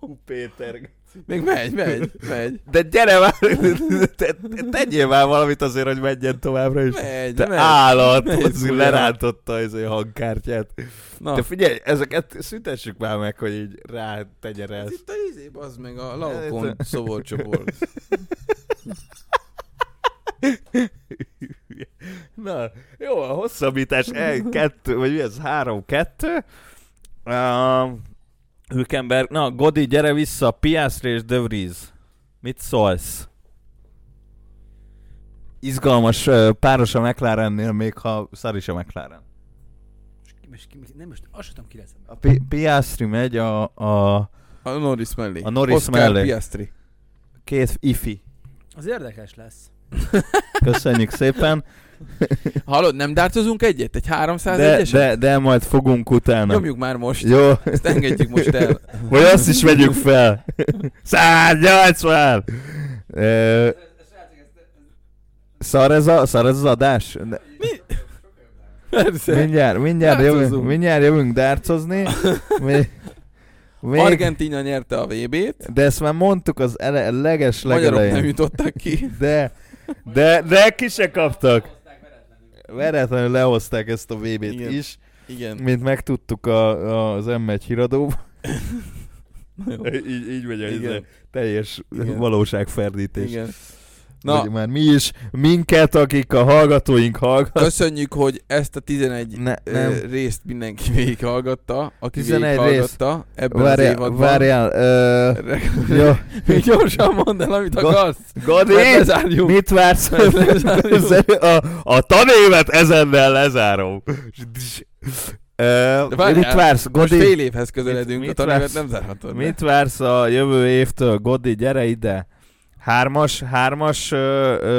[SPEAKER 1] Hú, Péter.
[SPEAKER 2] Még megy, megy, megy.
[SPEAKER 1] De gyere már, te, te- tegyél már valamit azért, hogy menjen továbbra is.
[SPEAKER 2] Megy,
[SPEAKER 1] Te
[SPEAKER 2] megy.
[SPEAKER 1] állat,
[SPEAKER 2] Megy,
[SPEAKER 1] az
[SPEAKER 2] buja.
[SPEAKER 1] lerántotta az a hangkártyát.
[SPEAKER 2] Na,
[SPEAKER 1] Te figyelj, ezeket szüntessük már meg, hogy így rá tegyen
[SPEAKER 2] ez
[SPEAKER 1] ezt.
[SPEAKER 2] itt a izé, az meg a laukon
[SPEAKER 1] Ez-
[SPEAKER 2] szoborcsoport.
[SPEAKER 1] Na, jó, a hosszabbítás el, kettő, vagy mi ez, három, kettő. Um, Hülkenberg, na, Godi, gyere vissza, Piastri és De Vries. Mit szólsz? Izgalmas ö, páros a McLarennél, még ha szar is a McLaren.
[SPEAKER 3] És ki- és ki- Nem, most azt sem tudom, ki lesz.
[SPEAKER 1] A Pi- Piastri megy a, a
[SPEAKER 2] A Norris mellé.
[SPEAKER 1] A Norris
[SPEAKER 2] Oscar
[SPEAKER 1] mellé.
[SPEAKER 2] Piastri.
[SPEAKER 1] két ifi.
[SPEAKER 3] Az érdekes lesz.
[SPEAKER 1] Köszönjük szépen.
[SPEAKER 2] Hallod, nem dárcozunk egyet? Egy 300
[SPEAKER 1] De,
[SPEAKER 2] egyes?
[SPEAKER 1] de, de majd fogunk utána.
[SPEAKER 2] Nyomjuk már most.
[SPEAKER 1] Jó.
[SPEAKER 2] Ezt engedjük most el.
[SPEAKER 1] Vagy azt is vegyük fel. 180! Ö, Szar ez, a, szar ez az adás? Ne-
[SPEAKER 2] Persze.
[SPEAKER 1] Mindjárt, mindjárt, jövünk,
[SPEAKER 2] Dárcozunk.
[SPEAKER 1] mindjárt jövünk dárcozni. Mi, még,
[SPEAKER 2] Argentina nyerte a VB-t.
[SPEAKER 1] de ezt már mondtuk az ele, leges
[SPEAKER 2] Magyarok nem
[SPEAKER 1] legelején.
[SPEAKER 2] jutottak ki.
[SPEAKER 1] De, de, de ki se kaptak. Veretlenül lehozták ezt a VB-t
[SPEAKER 2] Igen.
[SPEAKER 1] is,
[SPEAKER 2] Igen.
[SPEAKER 1] mint megtudtuk a, a, az M1 híradóban.
[SPEAKER 2] Na jó.
[SPEAKER 1] így, így megy a
[SPEAKER 2] Igen.
[SPEAKER 1] izé, teljes
[SPEAKER 2] Igen.
[SPEAKER 1] valóságferdítés.
[SPEAKER 2] Igen.
[SPEAKER 1] Na.
[SPEAKER 2] Na,
[SPEAKER 1] Hogy már mi is, minket, akik a hallgatóink hallgat.
[SPEAKER 2] köszönjük, hogy ezt a 11
[SPEAKER 1] Ne,
[SPEAKER 2] nem.
[SPEAKER 1] nem.
[SPEAKER 2] részt mindenki végighallgatta, aki
[SPEAKER 1] 11
[SPEAKER 2] végighallgatta ebben az
[SPEAKER 1] Várjál,
[SPEAKER 2] évadban.
[SPEAKER 1] várjál. Ö, jó.
[SPEAKER 2] Gyorsan mondd el, amit
[SPEAKER 1] Gond-
[SPEAKER 2] akarsz.
[SPEAKER 1] Gadi,
[SPEAKER 2] Mert lezárjuk.
[SPEAKER 1] mit vársz?
[SPEAKER 2] Mert lezárjuk.
[SPEAKER 1] a, a tanévet ezennel lezárom. Ö,
[SPEAKER 2] De várjál,
[SPEAKER 1] mit vársz,
[SPEAKER 2] Most
[SPEAKER 1] Godi?
[SPEAKER 2] fél évhez közeledünk,
[SPEAKER 1] mit
[SPEAKER 2] a tanévet
[SPEAKER 1] vársz?
[SPEAKER 2] nem zárhatod le.
[SPEAKER 1] Mit vársz a jövő évtől? Godi, gyere ide! Hármas, hármas ö,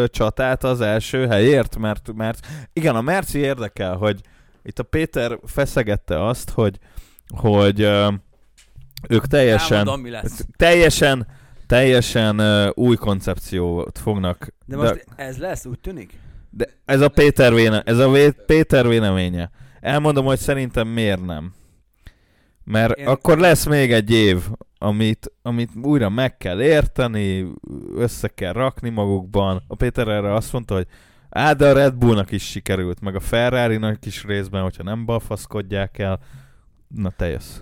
[SPEAKER 1] ö, csatát az első helyért, mert, mert igen, a Merci érdekel, hogy itt a Péter feszegette azt, hogy, hogy ö, ők teljesen,
[SPEAKER 3] Elmondom, mi lesz.
[SPEAKER 1] teljesen, teljesen ö, új koncepciót fognak.
[SPEAKER 3] De most ez lesz, úgy tűnik?
[SPEAKER 1] de ez a Péter, véne, ez a vé, Péter véleménye. Elmondom, hogy szerintem miért nem. Mert
[SPEAKER 3] Én-
[SPEAKER 1] akkor lesz még egy év, amit, amit újra meg kell érteni, össze kell rakni magukban. A Péter erre azt mondta, hogy á, de a Red Bullnak is sikerült, meg a Ferrari-nak is részben, hogyha nem balfaszkodják el. Na, te jössz.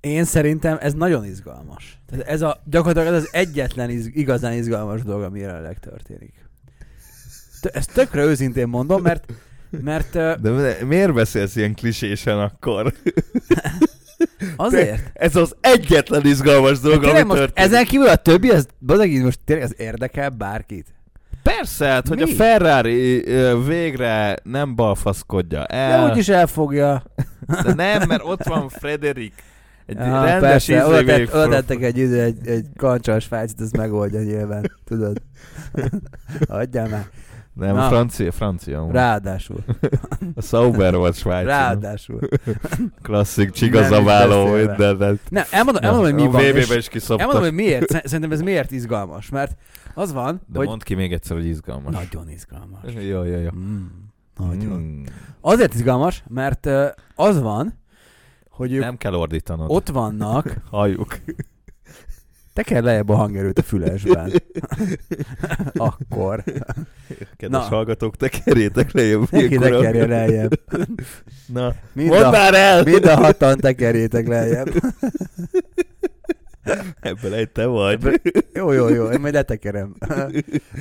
[SPEAKER 3] Én szerintem ez nagyon izgalmas. Tehát ez a, gyakorlatilag ez az egyetlen iz, igazán izgalmas dolog, ami jelenleg történik. T- ezt tökre őszintén mondom, mert, mert ö,
[SPEAKER 1] De mi- miért beszélsz ilyen klisésen akkor?
[SPEAKER 3] azért.
[SPEAKER 1] Ez az egyetlen izgalmas dolog, ami
[SPEAKER 3] Tényleg most
[SPEAKER 1] történik.
[SPEAKER 3] ezen kívül a többi, ez bazeg, most tényleg ez érdekel bárkit.
[SPEAKER 1] Persze, hát, hogy
[SPEAKER 3] Mi?
[SPEAKER 1] a Ferrari ö, végre nem balfaszkodja
[SPEAKER 3] De
[SPEAKER 1] el.
[SPEAKER 3] úgyis elfogja.
[SPEAKER 1] De nem, mert ott van Frederik. Egy
[SPEAKER 3] Ja,
[SPEAKER 1] rendes
[SPEAKER 3] persze, oda,
[SPEAKER 1] izévé
[SPEAKER 3] tett, oda
[SPEAKER 1] prof-
[SPEAKER 3] tettek egy, izé- egy, egy kancsas fájcit, ez megoldja nyilván, tudod. Adjál már.
[SPEAKER 1] Nem,
[SPEAKER 3] Na.
[SPEAKER 1] francia, francia. amúgy.
[SPEAKER 3] Ráadásul.
[SPEAKER 1] A Sauber volt Svájc.
[SPEAKER 3] Ráadásul.
[SPEAKER 1] Klasszik
[SPEAKER 3] Nem
[SPEAKER 1] csigazaváló
[SPEAKER 3] is beszélve.
[SPEAKER 1] mindent.
[SPEAKER 3] Nem, elmondom, elmondom hogy mi
[SPEAKER 1] a
[SPEAKER 3] van. és-
[SPEAKER 1] VB-be is
[SPEAKER 3] Elmondom,
[SPEAKER 1] kiszoptak.
[SPEAKER 3] hogy miért. Szer- Szerintem ez miért izgalmas, mert az van,
[SPEAKER 1] De
[SPEAKER 3] hogy...
[SPEAKER 1] mondd ki még egyszer, hogy izgalmas.
[SPEAKER 3] Nagyon izgalmas.
[SPEAKER 1] Jó, jó, jó.
[SPEAKER 3] Mm, nagyon.
[SPEAKER 1] Mm.
[SPEAKER 3] Azért izgalmas, mert ö, az van, hogy ők
[SPEAKER 1] Nem kell ordítanod.
[SPEAKER 3] ott vannak,
[SPEAKER 1] halljuk.
[SPEAKER 3] teker lejjebb a hangerőt a fülesben. Akkor.
[SPEAKER 1] Kedves
[SPEAKER 3] Na.
[SPEAKER 1] hallgatók, tekerjétek lejjebb.
[SPEAKER 3] Neki
[SPEAKER 1] ilyenkor,
[SPEAKER 3] tekerje
[SPEAKER 1] amikor-
[SPEAKER 3] lejjebb.
[SPEAKER 1] Na,
[SPEAKER 3] Mind
[SPEAKER 1] mondd
[SPEAKER 3] a,
[SPEAKER 1] már el!
[SPEAKER 3] mind a hatan tekerjétek lejjebb.
[SPEAKER 1] Ebből egy te vagy.
[SPEAKER 3] Jó, jó, jó, én majd letekerem.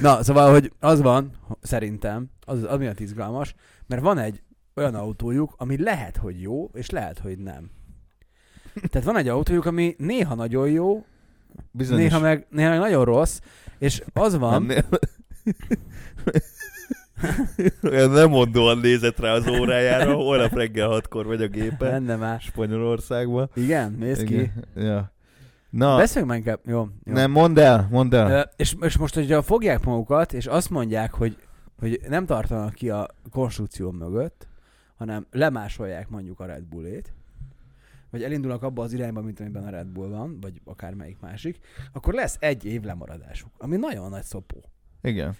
[SPEAKER 3] Na, szóval, hogy az van, szerintem, az, az miatt izgalmas, mert van egy olyan autójuk, ami lehet, hogy jó, és lehet, hogy nem. Tehát van egy autójuk, ami néha nagyon jó,
[SPEAKER 1] Bizonyos.
[SPEAKER 3] néha meg, néha meg nagyon rossz, és az van,
[SPEAKER 1] Nem, Olyan nem mondóan nézett rá az órájára, holnap reggel hatkor vagy a gépen,
[SPEAKER 3] benne más.
[SPEAKER 1] Spanyolországban.
[SPEAKER 3] Igen, néz ki.
[SPEAKER 1] Igen. Ja. Na, Besz-
[SPEAKER 3] Beszéljünk már inkább. Jó, jó.
[SPEAKER 1] nem, mondd el, mondd el.
[SPEAKER 3] Ö, és, és most, hogyha fogják magukat, és azt mondják, hogy, hogy nem tartanak ki a konstrukció mögött, hanem lemásolják mondjuk a Red Bullét, vagy elindulnak abba az irányba, mint amiben a Red Bull van, vagy akármelyik másik, akkor lesz egy év lemaradásuk, ami nagyon nagy szopó.
[SPEAKER 1] Igen.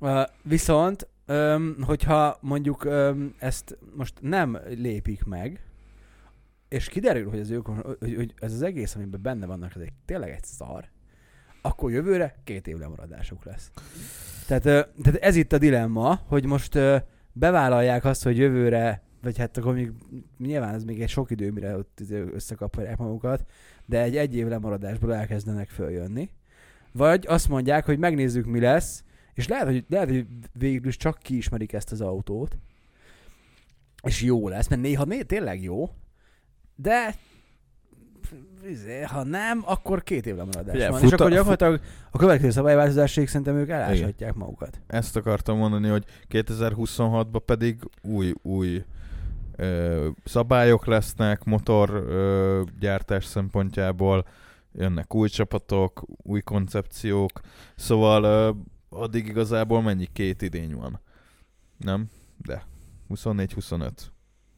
[SPEAKER 3] Ö, Viszont, öm, hogyha mondjuk öm, ezt most nem lépik meg, és kiderül, hogy, az ők, hogy, hogy ez az egész, amiben benne vannak, ez egy, tényleg egy szar, akkor jövőre két év lemaradásuk lesz. Tehát, ö, tehát ez itt a dilemma, hogy most ö, bevállalják azt, hogy jövőre, vagy hát akkor még nyilván ez még egy sok idő, mire ott izé összekaphatják magukat, de egy egy év lemaradásból elkezdenek följönni. Vagy azt mondják, hogy megnézzük, mi lesz, és lehet, hogy, lehet, hogy végül is csak kiismerik ezt az autót, és jó lesz, mert néha né- tényleg jó, de izé, ha nem, akkor két évre maradás
[SPEAKER 1] Figyelj,
[SPEAKER 3] van.
[SPEAKER 1] fut
[SPEAKER 3] És
[SPEAKER 1] a-
[SPEAKER 3] akkor
[SPEAKER 1] fut-
[SPEAKER 3] gyakorlatilag a következő szabályváltozásig szerintem ők eláshatják magukat.
[SPEAKER 1] Ezt akartam mondani, hogy 2026-ban pedig új, új ö, szabályok lesznek motor ö, gyártás szempontjából, jönnek új csapatok, új koncepciók, szóval ö, addig igazából mennyi két idény van. Nem, de 24-25.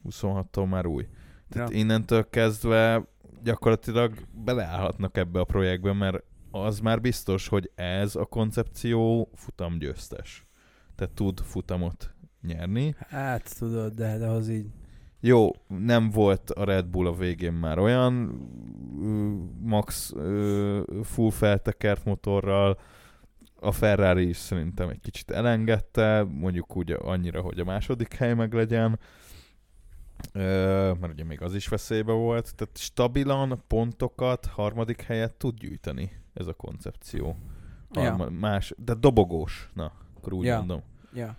[SPEAKER 1] 26-tól már új.
[SPEAKER 3] Ja.
[SPEAKER 1] Tehát innentől kezdve gyakorlatilag beleállhatnak ebbe a projektbe, mert az már biztos, hogy ez a koncepció futamgyőztes. Tehát tud futamot nyerni.
[SPEAKER 3] Hát tudod, de, de az így.
[SPEAKER 1] Jó, nem volt a Red Bull a végén már olyan ö, max ö, full feltekert motorral, a Ferrari is szerintem egy kicsit elengedte, mondjuk úgy annyira, hogy a második hely meg legyen, ö, mert ugye még az is veszélybe volt, tehát stabilan pontokat harmadik helyet tud gyűjteni ez a koncepció. Harma,
[SPEAKER 3] Ja.
[SPEAKER 1] ja. más, de dobogós, na, akkor úgy
[SPEAKER 3] Ja.
[SPEAKER 1] ja. mondom.
[SPEAKER 3] ja.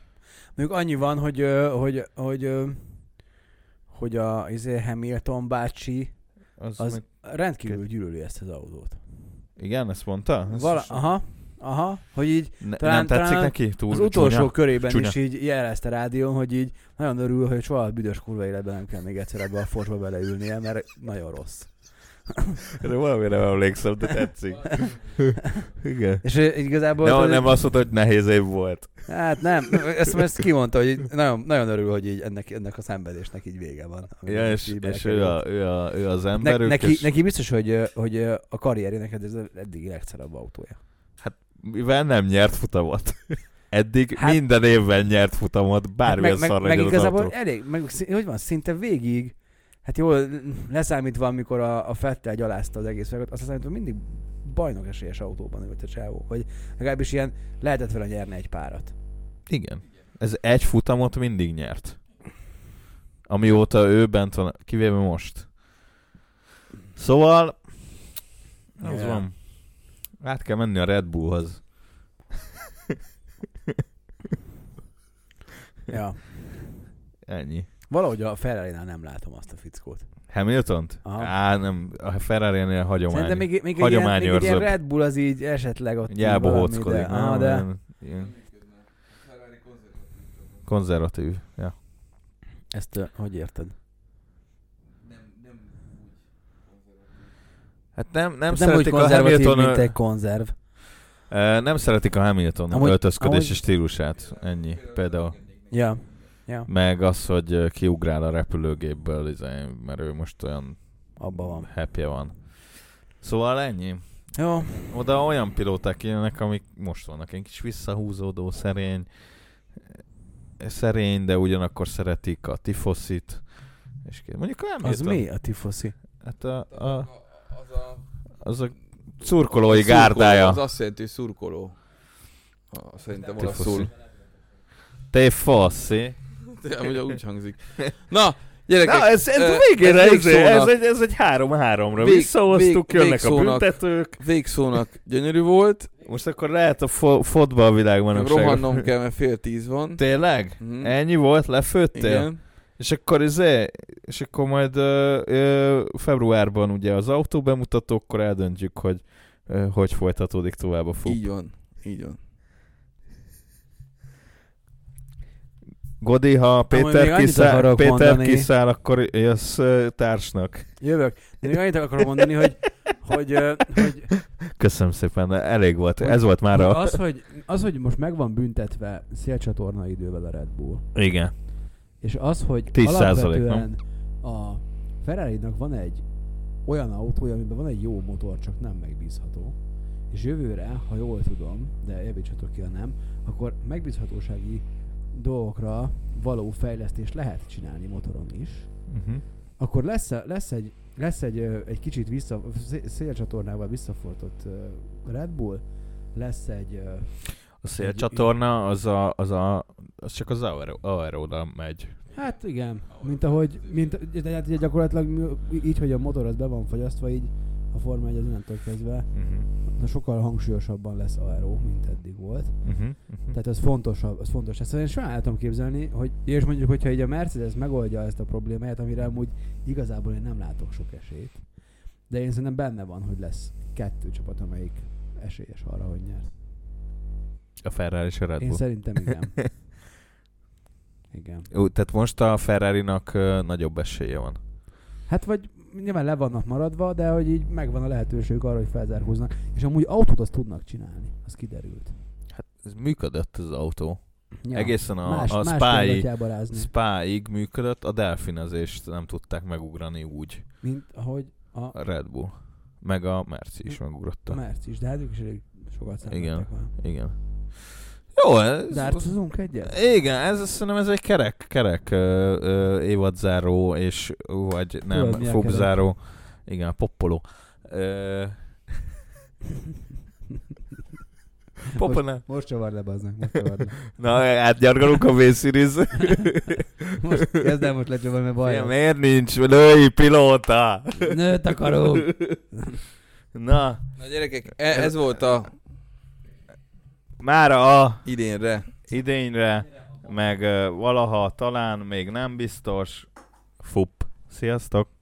[SPEAKER 3] Mondjuk annyi van, hogy, ö, hogy, hogy, ö, hogy a izé Hamilton bácsi
[SPEAKER 1] Az,
[SPEAKER 3] Az-
[SPEAKER 1] az... Meg,
[SPEAKER 3] rendkívül gyűlöli ezt az autót.
[SPEAKER 1] igen, ezt mondta? Ezt
[SPEAKER 3] Vala,
[SPEAKER 1] is-
[SPEAKER 3] aha, aha, hogy így
[SPEAKER 1] ne,
[SPEAKER 3] talán-
[SPEAKER 1] nem tetszik
[SPEAKER 3] talán
[SPEAKER 1] neki? Túl
[SPEAKER 3] az utolsó
[SPEAKER 1] csúnya?
[SPEAKER 3] körében
[SPEAKER 1] Csúnya.
[SPEAKER 3] is így jelezte rádión, hogy így nagyon örül, hogy soha a büdös kurva életben nem kell még egyszer ebbe a forsba beleülnie, mert nagyon rossz.
[SPEAKER 1] Erre valamire emlékszem, de tetszik. Igen.
[SPEAKER 3] És ö, igazából...
[SPEAKER 1] Nem,
[SPEAKER 3] tudod,
[SPEAKER 1] nem azt mondta, hogy nehéz év volt.
[SPEAKER 3] Hát nem, ezt, ezt kimondta, hogy így nagyon, nagyon örül, hogy így ennek, ennek a szenvedésnek így vége van.
[SPEAKER 1] Ja, és,
[SPEAKER 3] Így
[SPEAKER 1] és
[SPEAKER 3] belekerült.
[SPEAKER 1] ő, a, ő, a, ő az
[SPEAKER 3] ne,
[SPEAKER 1] emberük,
[SPEAKER 3] neki,
[SPEAKER 1] és
[SPEAKER 3] neki biztos, hogy, ö, hogy ö, a karrierjének ez az eddigi legszarabb autója.
[SPEAKER 1] mivel nem nyert futamot. Eddig
[SPEAKER 3] Hát-
[SPEAKER 1] hát, minden évben nyert futamot, bármilyen
[SPEAKER 3] meg,
[SPEAKER 1] szar
[SPEAKER 3] meg, meg
[SPEAKER 1] legyen az
[SPEAKER 3] igazából
[SPEAKER 1] autó.
[SPEAKER 3] elég, meg, szí- hogy van, szinte végig, hát jól leszámítva, amikor a, a Fettel gyalázta az egész világot, azt leszámítva mindig bajnok esélyes autóban ült a csávó, hogy legalábbis ilyen lehetett vele nyerni egy párat.
[SPEAKER 1] Igen. Ez egy futamot mindig nyert. Amióta ő bent van, kivéve most. Szóval, az
[SPEAKER 3] Ja.
[SPEAKER 1] van. Át kell menni a Red Bullhoz.
[SPEAKER 3] Ja.
[SPEAKER 1] Ennyi.
[SPEAKER 3] Valahogy a ferrari nem látom azt a fickót.
[SPEAKER 1] Hamilton-t?
[SPEAKER 3] Aha.
[SPEAKER 1] Á, nem, a Ferrari-nél hagyomány.
[SPEAKER 3] Szerintem még, még, egy ilyen, még egy ilyen
[SPEAKER 1] hagyományőrzőbb.
[SPEAKER 3] Red Bull az így esetleg ott
[SPEAKER 1] Így
[SPEAKER 3] így
[SPEAKER 1] elbohóckodik.
[SPEAKER 3] valami, de, aha, de,
[SPEAKER 1] Ilyen- ilyen konzervatív. Ja.
[SPEAKER 3] Ezt ö, hogy érted?
[SPEAKER 1] Hát nem, nem,
[SPEAKER 3] Nem, nem úgy
[SPEAKER 1] szeretik a
[SPEAKER 3] konzervatív,
[SPEAKER 1] Hamilton,
[SPEAKER 3] mint egy konzerv.
[SPEAKER 1] ö, nem szeretik a Hamilton
[SPEAKER 3] Amúgy-
[SPEAKER 1] amúgy, öltözködési
[SPEAKER 3] amúgy-
[SPEAKER 1] stílusát. Ennyi. Például.
[SPEAKER 3] Ja.
[SPEAKER 1] Meg az, hogy ö, kiugrál a repülőgépből, izé, mert ő most olyan
[SPEAKER 3] Abba van.
[SPEAKER 1] happy van. Szóval ennyi.
[SPEAKER 3] Jó,
[SPEAKER 1] Oda olyan pilóták jönnek, amik most vannak. Egy kis visszahúzódó, szerény, szerény, de ugyanakkor szeretik a tifoszit. És ki- mondjuk nem
[SPEAKER 3] az mi a tifoszi?
[SPEAKER 1] Hát a, a,
[SPEAKER 2] Az a
[SPEAKER 1] az a szurkolói
[SPEAKER 2] Szurkoló,
[SPEAKER 1] gárdája.
[SPEAKER 2] Az azt jelenti, hogy szurkoló. Ah, Szerintem olaszul.
[SPEAKER 1] Te foszi.
[SPEAKER 2] De Amúgy úgy hangzik. Na, gyerekek,
[SPEAKER 1] Na, ez, ez
[SPEAKER 2] ö,
[SPEAKER 1] végére
[SPEAKER 2] ez
[SPEAKER 1] ez, ez, ez,
[SPEAKER 2] végszónak.
[SPEAKER 1] egy, ez egy három-háromra.
[SPEAKER 2] Vég-
[SPEAKER 1] Visszahoztuk,
[SPEAKER 2] vég-
[SPEAKER 1] jönnek a
[SPEAKER 2] végszónak.
[SPEAKER 1] büntetők.
[SPEAKER 2] végszónak gyönyörű volt.
[SPEAKER 1] Most akkor lehet a fo- fotball világmanapság.
[SPEAKER 2] Rohannom kell, mert fél tíz van.
[SPEAKER 1] Tényleg?
[SPEAKER 2] Mhm.
[SPEAKER 1] Ennyi volt? Lefőttél?
[SPEAKER 2] Igen.
[SPEAKER 1] És akkor izé, és akkor majd ö, ö, februárban ugye az autó bemutatókkor eldöntjük, hogy ö, hogy folytatódik tovább a fut.
[SPEAKER 2] Így van. Így van.
[SPEAKER 1] Godi, ha
[SPEAKER 3] még
[SPEAKER 1] Péter,
[SPEAKER 3] annyit
[SPEAKER 1] kiszáll,
[SPEAKER 3] akarok
[SPEAKER 1] Péter
[SPEAKER 3] mondani.
[SPEAKER 1] kiszáll, akkor jössz ö, társnak.
[SPEAKER 3] Jövök. De még annyit akarok mondani, hogy, hogy, ö, hogy,
[SPEAKER 1] Köszönöm szépen, elég volt.
[SPEAKER 3] Hogy-
[SPEAKER 1] Ez volt már a...
[SPEAKER 3] az, hogy az, hogy most meg van büntetve szélcsatorna idővel a Red Bull,
[SPEAKER 1] Igen.
[SPEAKER 3] és az, hogy
[SPEAKER 1] 10%
[SPEAKER 3] alapvetően a ferrari van egy olyan autója, amiben van egy jó motor, csak nem megbízható, és jövőre, ha jól tudom, de javítsatok ki, ha nem, akkor megbízhatósági dolgokra való fejlesztést lehet csinálni motoron is,
[SPEAKER 1] Uh-huh.
[SPEAKER 3] akkor lesz, lesz egy, lesz egy, ö, egy kicsit vissza, szé- szélcsatornával visszafortott ö, Red Bull, lesz egy... ö,
[SPEAKER 1] A szélcsatorna az a, az a, az csak az aero- aeróra megy.
[SPEAKER 3] Hát igen, mint ahogy, mint, de hát ugye gyakorlatilag mi- így, hogy a motor az be van fogyasztva, így a Forma 1 az innentől kezdve
[SPEAKER 1] Uh-huh.
[SPEAKER 3] na, sokkal hangsúlyosabban lesz aero, mint eddig volt.
[SPEAKER 1] Uh-huh. Uh-huh.
[SPEAKER 3] Tehát az fontosabb, az fontos. Ezt én soha el tudom képzelni, hogy és mondjuk, hogyha így a Mercedes megoldja ezt a problémáját, amire amúgy igazából én nem látok sok esélyt. De én szerintem benne van, hogy lesz kettő csapat, amelyik esélyes arra, hogy nyer.
[SPEAKER 1] A Ferrari és a Red
[SPEAKER 3] Én
[SPEAKER 1] Bull.
[SPEAKER 3] szerintem igen. igen.
[SPEAKER 1] Jó, tehát most a Ferrari-nak ö, nagyobb esélye van.
[SPEAKER 3] Hát vagy nyilván le vannak maradva, de hogy így megvan a lehetőség arra, hogy felzárkóznak. És amúgy autót azt tudnak csinálni, az kiderült.
[SPEAKER 1] Ez működött az autó. Ja. Egészen a,
[SPEAKER 3] más,
[SPEAKER 1] a
[SPEAKER 3] más
[SPEAKER 1] spy
[SPEAKER 3] területjába rázni.
[SPEAKER 1] Spáig működött, a delfinezést nem tudták megugrani úgy.
[SPEAKER 3] Mint ahogy a
[SPEAKER 1] A Red Bull. Meg a Merci is megugrotta.
[SPEAKER 3] március, de hát ők is elég sokat
[SPEAKER 1] Igen.
[SPEAKER 3] szenvedtek már.
[SPEAKER 1] Igen. Jó, ez...
[SPEAKER 3] Dárcozunk egyet?
[SPEAKER 1] Igen, ez szerintem ez egy kerek, kerek ö, ö, évadzáró, és vagy nem,
[SPEAKER 3] Tudod, mi a
[SPEAKER 1] fogzáró. Igen, poppoló. Ö, Popolá.
[SPEAKER 3] Most csavar le, baznak, most csavar le.
[SPEAKER 1] Na, átgyargalunk a vészíriz.
[SPEAKER 3] Most kezd el most lecsavarni, mert baj.
[SPEAKER 1] Fiam,
[SPEAKER 3] van.
[SPEAKER 1] Miért nincs? Lőj, pilóta!
[SPEAKER 3] Nőt akarunk.
[SPEAKER 1] Na,
[SPEAKER 2] Na gyerekek, e- ez volt a
[SPEAKER 1] mára a
[SPEAKER 2] idénre.
[SPEAKER 1] idényre, meg ö, valaha talán még nem biztos. Fup. Sziasztok!